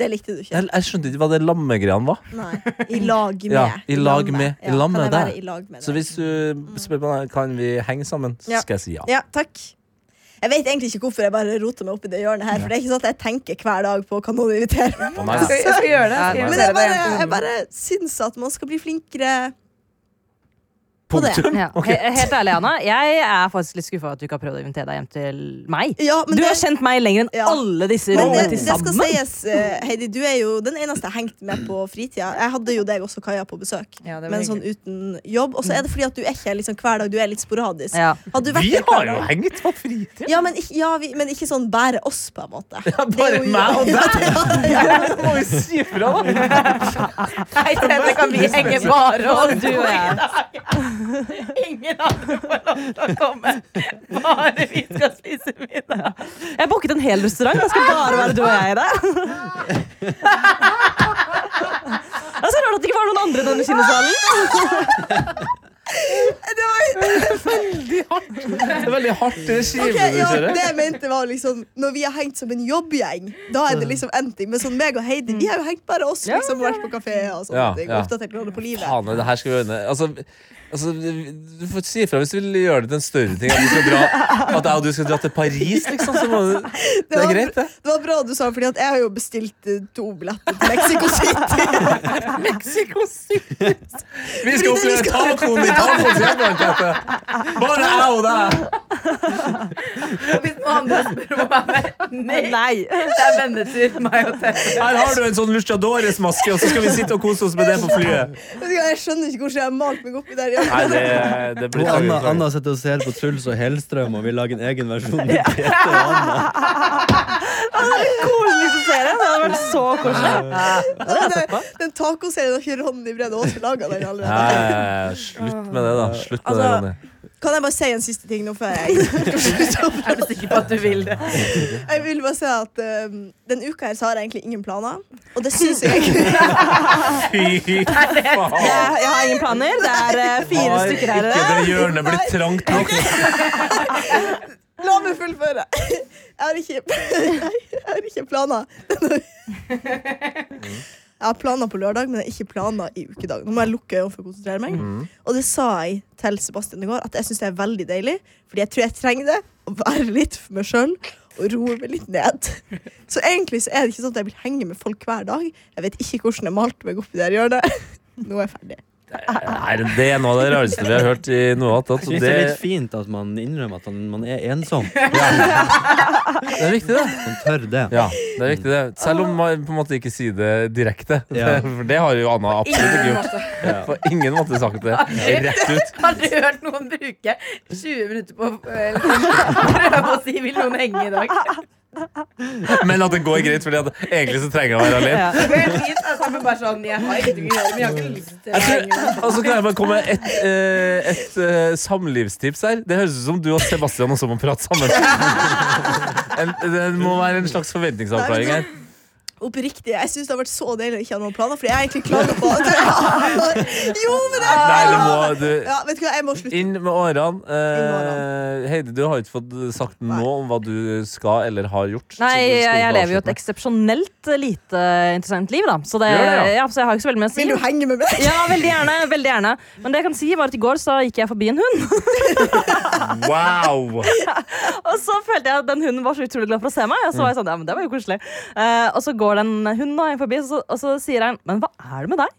Det likte du ikke.
jeg, jeg skjønte ikke hva det lammegreiene var.
Nei. I lag med.
Ja, i lag med. I lag med
kan jeg være
deg.
i lag med
Så
deg?
hvis du spør meg kan vi henge sammen, så
Ja.
skal jeg si ja.
Ja, takk. Jeg vet egentlig ikke hvorfor jeg bare roter meg opp i det hjørnet her. For det er ikke sånn at jeg tenker hver dag på hva noen inviterer meg.
Å,
Jeg
nei,
skal, jeg skal gjøre det. Jeg skal
Men
Ja,
invitere
jeg
deg
bare,
hjem til
jeg
hunden.
bare syns at man skal bli flinkere på det.
Punktum.
Ja.
Ok.
He- Helt ærlig, Anna. Jeg er faktisk litt skuffa over at du ikke har prøvd å invitere deg hjem til meg.
Ja, men
du
det-
har kjent meg lenger enn
Ja.
alle disse
Men
rommene
det, det
til
skal
sammen.
sies, eh, Heidi, du er jo den eneste jeg hengte med på fritida. Jeg hadde jo deg også, Kaja, på besøk,
Ja, det var
men sånn uten jobb. Og så er det fordi at du er ikke liksom hver dag, du er litt sporadisk.
Ja.
Hadde du vært
Vi
der hver
har jo
dag-
hengt på fritid!
ja, men, ikke- ja, vi, men ikke sånn bære oss, på en måte.
Bare meg og deg! Det må vi si ifra, da!
Nei, dette kan vi henge bare
Og
oss.
du og jeg.
Ingen andre får lov til å komme. Bare vi skal spise middag.
Jeg har booket en hel restaurant. Det skal bare være du og jeg der. Det er så rart at det ikke var noen andre i denne kinosalen.
Det er veldig hardt regime
Ok,
du
ja,
kjører.
det jeg mente var liksom Når vi har hengt som en jobbgjeng, da
Mm.
er det liksom en ting. Men sånn meg og Heidi, vi har jo hengt bare oss, liksom, vært på kafé og sånne
Ja,
ting.
ja.
Oppdatert hverandre på livet.
Faen, det her skal vi ordne. Altså, Altså, du får si ifra hvis du vil gjøre det til en større ting. At, du skal dra, at jeg og du skal dra til Paris, liksom. Så må du, det er
var-
greit, det.
Det var bra du sa, fordi at jeg har jo bestilt eh, to billetter til Mexico City.
Mexico City. Vi skal oppleve tacoen i tacoen. sier jeg bare til dette. Bare jeg og deg.
Hvis noen andre spør om å være med, nei. Det er vennetur. Meg og Tete.
Her har du en sånn luchadores-maske, og så skal vi sitte og kose oss med det på flyet.
Vet du hva, Jeg skjønner ikke hvordan jeg har malt meg oppi der.
Nei, det, det
Og
blir
Anna,
tacoen.
Anna sitter og ser på Truls og Hellstrøm og vil lage en egen versjon. med Peter og Anna.
Koselig å se det. Det hadde vært så koselig.
Den, den tacoserien har ikke Ronny Brede Aase laga den
Nei,
allerede.
slutt med det, da. Slutt med det,
Altså,
Ronny.
Kan jeg bare si en siste ting nå før jeg
Er du sikker på at du vil det?
Jeg vil bare si at um, den uka her så har jeg egentlig ingen planer, og det syns jeg
Fy
Jeg, jeg har ingen planer. Det er eh, fire
Har
stykker her i
Ikke
dag.
det hjørnet blir trangt nok.
La meg fullføre. Jeg har ikke, jeg har ikke planer. Jeg har planer på lørdag, men jeg har ikke planer i ukedag. Nå må jeg lukke øynene for å konsentrere meg. Og det sa jeg til Sebastian i går, at jeg syns det er veldig deilig. Fordi jeg tror jeg trenger det. Å være litt for meg sjøl og roe meg litt ned. Så egentlig så er det ikke sånn at jeg vil henge med folk hver dag. Jeg vet ikke hvordan jeg malte meg opp i det her hjørnet. Nå er jeg ferdig.
Nei, det er noe av det rareste vi har hørt i noe annet.
Jeg
Så
synes det
det,
er litt fint at man innrømmer at man- man er ensom.
det er viktig, det.
Man tør det.
Ja, det er viktig det. Selv om man på en måte ikke sier det direkte.
Ja.
For det har jo Anna absolutt ikke gjort. På ingen måte sagt det. Rett ut.
Har du hørt noen bruke 20 minutter på å eller prøve å si 'vil noen henge i dag'?
Men at det går greit, fordi at egentlig så trenger jeg å være alene.
Ja.
Det går helt fint, altså, men bare sånn, jeg har ingenting å gjøre, men jeg har ikke lyst til å
Jeg tror,
henge med.
altså kan jeg bare komme med et, eh, et eh, samlivstips her? Det høres ut som du og Sebastian også må prate sammen. En, det må være en slags forventningsavklaring her.
Oppriktig, jeg syns det har vært så deilig å ikke ha noen planer, Fordi jeg har egentlig klager på at Jo, men jeg
Nei, det må, du,
Ja, vet du hva, jeg må slutte.
inn med årene.
årene.
Eh, Heidi, du har ikke fått sagt
Nei.
noe om hva du skal eller har gjort.
Nei,
så du skal
jeg, jeg
bare
lever jo et
avslutte.
eksepsjonelt eh, lite interessant liv, da. Så, det,
Gjør det,
ja.
ja.
så jeg har ikke så veldig mye å si.
Vil du henge med meg?
Ja, veldig gjerne. veldig gjerne Men det jeg kan si var at i går så gikk jeg forbi en hund.
Wow!
Og så følte jeg at den hunden var så utrolig glad for å se meg. Og så var jeg sånn, ja, men det var jo koselig Eh, Og så går den hunden da forbi, og så, og så sier han Men hva er det med deg?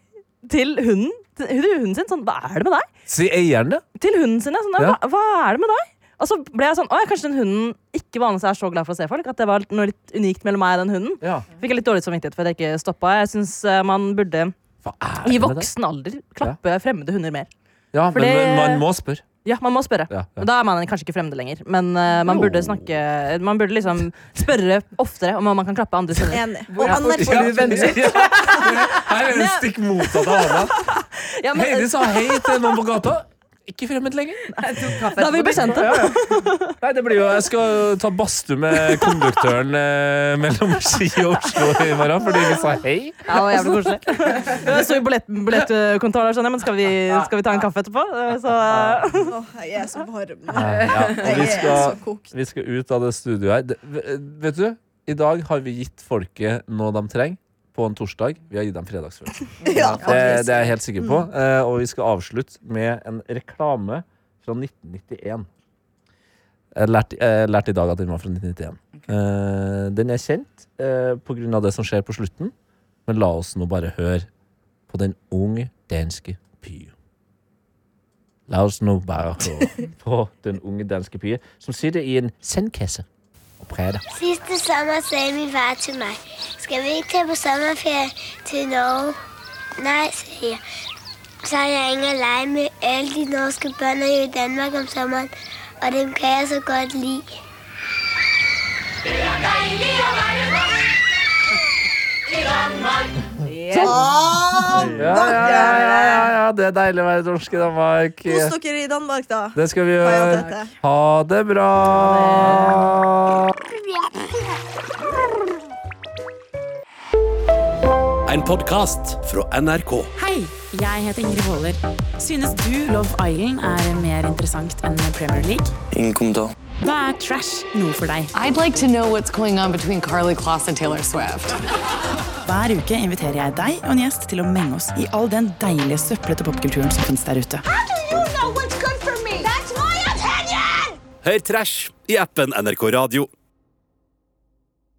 Til hunden, til hunden sin. Sånn, hva er det med deg?
Si eieren det.
til hunden sin. ja, Sånn,
Ja.
hva, hva er det med deg? Og så ble jeg sånn, «Å, ja, Kanskje den hunden ikke vanligvis er så glad for å se folk. At det var noe litt unikt mellom meg og den hunden.
Ja.
Fikk jeg litt dårlig samvittighet for at jeg ikke stoppa. Jeg synes eh, man burde
Hva er det med
i
det?
voksen alder klappe fremmede hunder mer.
Ja,
Fordi-
men man må spørre.
Ja, man må spørre.
Ja, ja.
Da er man kanskje ikke fremmed lenger, men eh, man burde snakke Man burde liksom spørre oftere om man kan klappe andres hunder.
Enig. Og anerkjenn-
Ja, ja. Her er det stikk motsatt av Anna.
Ja, men,
Heidi sa hei til noen på gata. Ikke fremmed lenger.
da har vi bekjent det.
Nei, det blir jo, Jeg skal jo ta badstue med konduktøren eh, mellom Ski og Oslo i morgen fordi vi sa hei.
Ja, det var jævlig koselig. Jeg sto i billett- billettkontrollen, skjønner jeg, men skal vi, skal vi ta en kaffe etterpå? Eh, Så
Åh, jeg er så varm. nå.
Ja, og vi
Jeg er så
skal,
kokt.
vi skal ut av det studioet her. Det- v- eh, Vet du, i dag har vi gitt folket noe de trenger på en torsdag. Vi har gitt dem fredagsfølelse.
Ja,
Det,
faktisk.
det er jeg helt sikker på. Eh, og vi skal avslutte med en reklame fra 1991. Jeg lærte, jeg lærte i dag at den var fra 1991. Eh, den er kjent eh, pga. det som skjer på slutten, men la oss nå bare høre på den unge danske py. La oss nå bare høre på den unge danske py som sitter i en sandkasse og prater.
Siste sommer sa min far til meg Skal vi ikke på sommerferie til Norge? Nei, sier jeg. Så er jeg ingen lei med alle de norske bønder i Danmark om sommeren, og dem kan jeg så godt lide.
Ah,
Ja, ja, ja, ja, ja, ja, det er deilig å være norsk i Danmark.
Kos dere i Danmark, da.
Det skal vi
Hva er alt
gjøre.
dette?
Ha det bra!
En podcast fra NRK.
Hei, jeg heter Ingrid Haaler. Synes du Love Island er mer interessant enn Premier League?
Ingen kommentar.
Da er trash noe for deg.
I'd like to know what's going on between Carly Kloss and Taylor Swift.
Hver uke inviterer jeg deg og en gjest til å menge oss i all den deilige søpplete popkulturen som finnes der ute.
Hør Trash i appen NRK Radio.